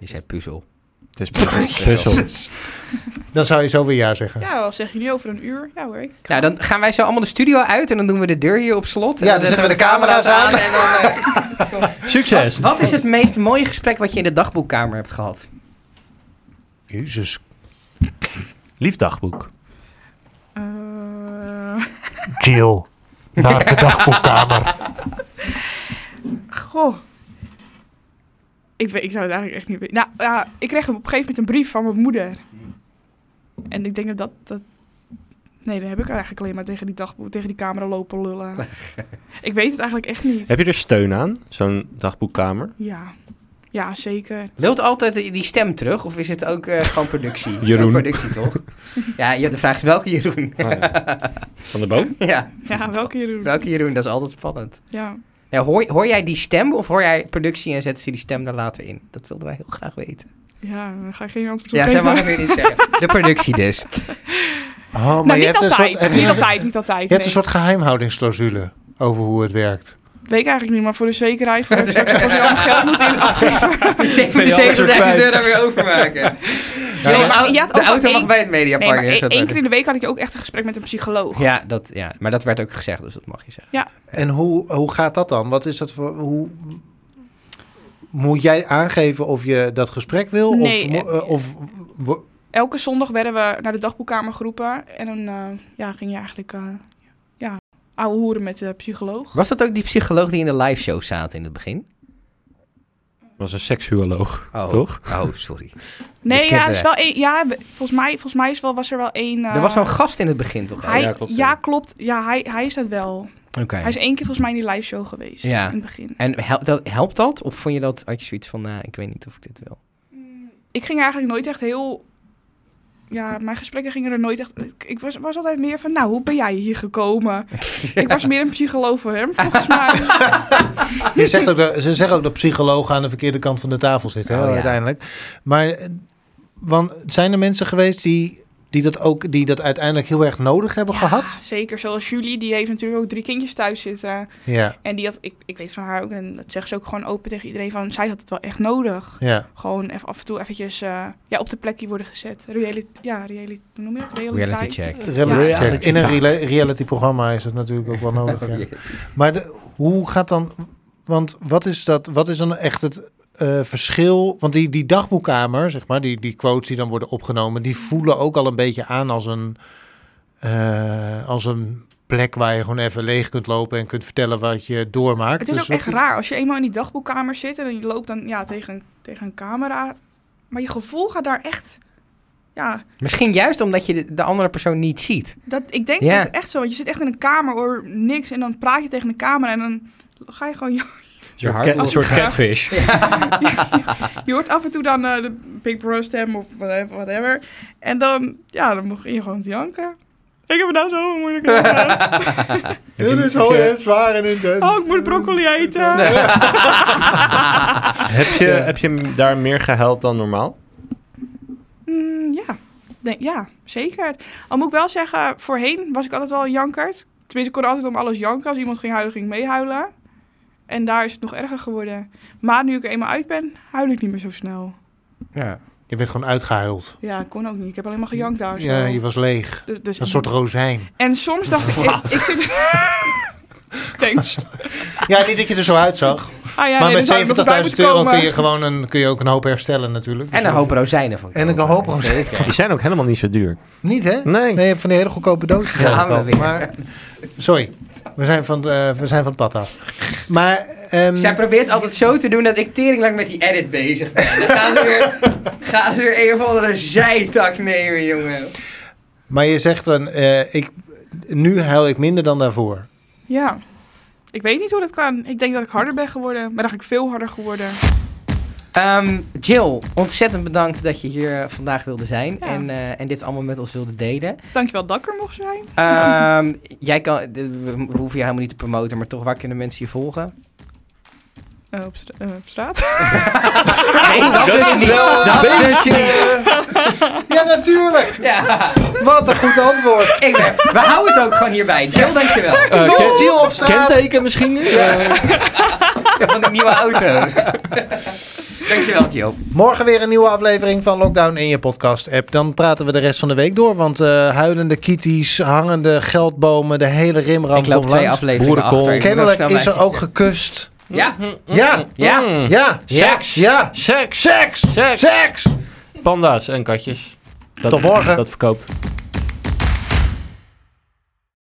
S1: Je zei puzzel.
S5: Het is puzzel. puzzel.
S2: dan zou je zo weer ja zeggen.
S4: Ja, wat zeg je nu over een uur? Ja hoor, ik
S1: Nou, dan gaan wij zo allemaal de studio uit en dan doen we de deur hier op slot. En
S2: Ja, dan zetten we de camera's aan.
S1: en dan,
S2: *laughs*
S1: eh,
S5: Succes.
S1: wat is het meest mooie gesprek wat je in de dagboekkamer hebt gehad?
S2: Jezus.
S5: Liefdagboek.
S4: Eh,
S2: Jill, naar de dagboekkamer.
S4: goh. Ik, weet, ik zou het eigenlijk echt niet weten. Nou, ja, ik kreeg op een gegeven moment een brief van mijn moeder. En ik denk dat dat... dat- Nee, daar heb ik eigenlijk alleen maar tegen die, dag, tegen die camera lopen
S2: *laughs*
S4: lullen. ik weet het eigenlijk echt niet.
S3: Heb je er steun aan, zo'n dagboekkamer?
S4: Ja, ja zeker.
S1: Lult altijd die die stem terug of is het ook eh, gewoon *laughs* productie? Het is
S3: Jeroen.
S1: ook productie, toch? ja, je- de vraag is welke Jeroen? *laughs*
S3: Van de boom?
S1: ja,
S4: Ja, welke Jeroen?
S1: welke Jeroen? Dat is altijd spannend.
S4: Ja.
S1: Ja, hoor, hoor jij die stem of hoor jij productie en zetten ze die stem daar later in? Dat wilden wij heel graag weten.
S4: ja, dan ga ik geen antwoord op
S1: Ja, zij
S4: geven.
S1: mag het weer niet zeggen. *laughs* De productie dus.
S2: Oh, maar
S4: Nou,
S2: je
S4: niet
S2: hebt een
S4: altijd,
S2: soort-
S4: niet altijd, niet altijd.
S2: Je hebt een
S4: nee.
S2: soort geheimhoudingsclausule over hoe het werkt.
S4: Weet ik eigenlijk niet, maar voor de
S1: *laughs*
S4: zekerheid, voor dat ik straks als je al mijn geld moet in afgeven.
S1: De 77.000 euro weer overmaken.
S4: Nee, maar je had
S1: de
S4: ook wel
S1: auto mag
S4: één-
S1: bij het Mediapark.
S4: Nee, maar
S1: hè,
S4: één
S1: dat
S4: één
S1: werd-
S4: keer in de week had ik ook echt een gesprek met een psycholoog.
S1: ja, dat, ja, maar dat werd ook gezegd, dus dat mag je zeggen.
S2: En hoe, hoe gaat dat dan? Wat is dat voor... Hoe, moet jij aangeven of je dat gesprek wil?
S4: Nee,
S2: of, mo-
S4: eh,
S2: eh, of wo-
S4: Elke zondag werden we naar de dagboekkamer geroepen. En dan eh, ja, ging je eigenlijk eh ja, ouwe hoeren met de psycholoog.
S1: Was dat ook die psycholoog die in de live show zaten in het begin?
S3: was een seksuoloog,
S1: Oh.
S3: toch?
S1: Oh, sorry.
S4: Nee, ja,
S1: kinderen.
S4: er is wel één, ja, we- volgens mij, volgens mij is wel, was er wel één... eh,
S1: *laughs* er was zo'n gast in het begin toch? ook?
S4: Hij,
S3: Ja,
S4: ja,
S3: klopt,
S4: klopt.
S3: ja.
S4: Ja, hij, hij is dat wel.
S1: Oké.
S4: Hij is één keer volgens mij in die live show geweest.
S1: Ja.
S4: In het begin.
S1: En hel- dat, helpt dat? Of vond je dat, had je zoiets van, nou, ik weet niet of ik dit wil?
S4: Ik ging eigenlijk nooit echt heel... Ja, mijn gesprekken gingen er nooit echt... Ik, ik was, was altijd meer van, nou, hoe ben jij hier gekomen? Ik was meer een psycholoog voor hem, volgens mij.
S2: Je zegt ook dat, ze zeggen ook dat psychologen aan de verkeerde kant van de tafel zitten, hè,
S1: Oh, ja.
S2: uiteindelijk. Maar eh, want zijn er mensen geweest die, die, dat ook, die dat uiteindelijk heel erg nodig hebben gehad?
S4: Zeker, zoals Julie, die heeft natuurlijk ook drie kindjes thuis zitten.
S2: Ja,
S4: En die had, ik, ik weet van haar ook, en dat zegt ze ook gewoon open tegen iedereen, van zij had het wel echt nodig.
S2: ja.
S4: Gewoon even af en toe eventjes eh, ja, op de plekje worden gezet. Reali ja, reali hoe noem je dat? Realiteit.
S1: Reality check.
S2: Reality
S4: Ja.
S2: check. In een rela- reality programma is dat natuurlijk ook wel nodig.
S1: Oh,
S2: Ja. Maar de- hoe gaat dan, want wat is, dat, wat is dan echt het eh, verschil? Want die, die dagboekkamer, zeg maar, die, die quotes die dan worden opgenomen, die voelen ook al een beetje aan als een, eh, als een plek waar je gewoon even leeg kunt lopen en kunt vertellen wat je doormaakt.
S4: Het is
S2: Dus
S4: ook
S2: wat-
S4: echt raar, als je eenmaal in die dagboekkamer zit en je loopt dan ja, tegen, een- tegen een camera. Maar je gevoel gaat daar echt... Ja,
S1: Misschien juist omdat je de, de andere persoon niet ziet.
S4: dat, ik denk
S1: Ja.
S4: dat het echt zo, want je zit echt in een kamer, hoor niks. En dan praat je tegen een camera en dan ga je gewoon je
S1: Je
S3: Een ca- een soort catfish.
S4: Je hoort af en toe dan eh, de Big Brother stem of whatever, whatever. En dan, ja, dan mocht je gewoon te janken. Ik heb het nou zo
S1: *laughs*
S4: moeilijk gedaan.
S2: Dit is al heel zwaar en intens.
S4: Oh, ik moet broccoli eten.
S3: heb, je, heb je daar meer gehuild dan normaal?
S4: Mm, ja. Nee, ja, zeker. Al moet ik wel zeggen, voorheen was ik altijd wel een jankert. Tenminste, ik kon altijd om alles janken. Als iemand ging huilen, ging ik meehuilen. En daar is het nog erger geworden. Maar nu ik er eenmaal uit ben, huil ik niet meer zo snel.
S1: Ja.
S2: Je bent gewoon uitgehuild.
S4: Ja, ik kon ook niet. Ik heb alleen maar gejankt daar. Oh, zo.
S2: Ja, je was leeg.
S4: Dus- dus-
S2: Een soort rozijn.
S4: En soms dacht ik, ik, ik
S2: *laughs*
S4: zit... Thanks.
S2: Ja, niet dat je er zo uitzag.
S4: Ah ja,
S2: maar
S4: nee, daar zou ik nog bij
S2: met 70.000
S4: moeten
S2: euro
S4: komen.
S2: kun je, gewoon een, kun je ook een hoop herstellen
S1: *laughs*
S2: natuurlijk. Dus
S1: En een hoop rozijnen van
S2: En een
S1: kopen.
S2: hoop rozijnen.
S1: Zeker.
S3: Die zijn ook helemaal niet zo duur.
S2: Niet hè?
S3: Nee.
S2: Nee, je hebt van die hele goedkope doosjes.
S1: Gaan we
S2: gekocht.
S1: weer.
S2: Maar, sorry, we zijn van, eh, we zijn van het pad af. Maar, ehm,
S1: Zij probeert altijd zo te doen dat ik teringlang met die edit bezig ben. Dan gaan ze *laughs* weer, gaan ze weer een of andere zijtak nemen, jongen.
S2: maar je zegt dan, eh, ik, nu huil ik minder dan daarvoor.
S4: Ja. Ik weet niet hoe dat kan. Ik denk dat ik harder ben geworden. Maar eigenlijk veel harder geworden.
S1: Ehm, Jill, ontzettend bedankt dat je hier eh, vandaag wilde zijn
S4: Ja.
S1: en, eh, en dit allemaal met ons wilde delen.
S4: Dankjewel dat ik er mocht zijn.
S1: Ehm, *laughs* *laughs* jij kan, d- we, we hoeven je helemaal niet te promoten, maar toch, waar kunnen mensen je volgen?
S4: eh, op, stra- eh, op straat.
S1: Nee, dat is wel... Dat durf je niet.
S2: Ja, natuurlijk.
S1: Ja,
S2: Wat een goed antwoord.
S1: ik ben- we houden het ook gewoon hierbij. Jill, *laughs* dankjewel.
S5: Eh,
S2: Volg
S5: ken-
S2: Jill op straat.
S5: Kenteken misschien? Eh,
S1: Ja, van de nieuwe auto. *laughs* dankjewel, Jill.
S2: Morgen weer een nieuwe aflevering van Lockdown in je podcast-app. Dan praten we de rest van de week door. Want eh, huilende kitties, hangende geldbomen, de hele rimram
S1: Ik loop
S2: komt
S1: twee
S2: langs.
S1: afleveringen
S5: Boerenkool.
S1: achter. Ik moet
S2: Kennelijk
S1: even snel
S2: is er
S1: bij-
S2: ook gekust.
S1: Ja,
S2: Ja,
S1: Ja.
S5: Mm.
S2: ja,
S5: Seks.
S2: ja,
S5: Seks.
S2: seks,
S5: Seks.
S2: seks.
S5: Panda's en katjes. Dat,
S2: Tot morgen.
S5: Dat verkoopt.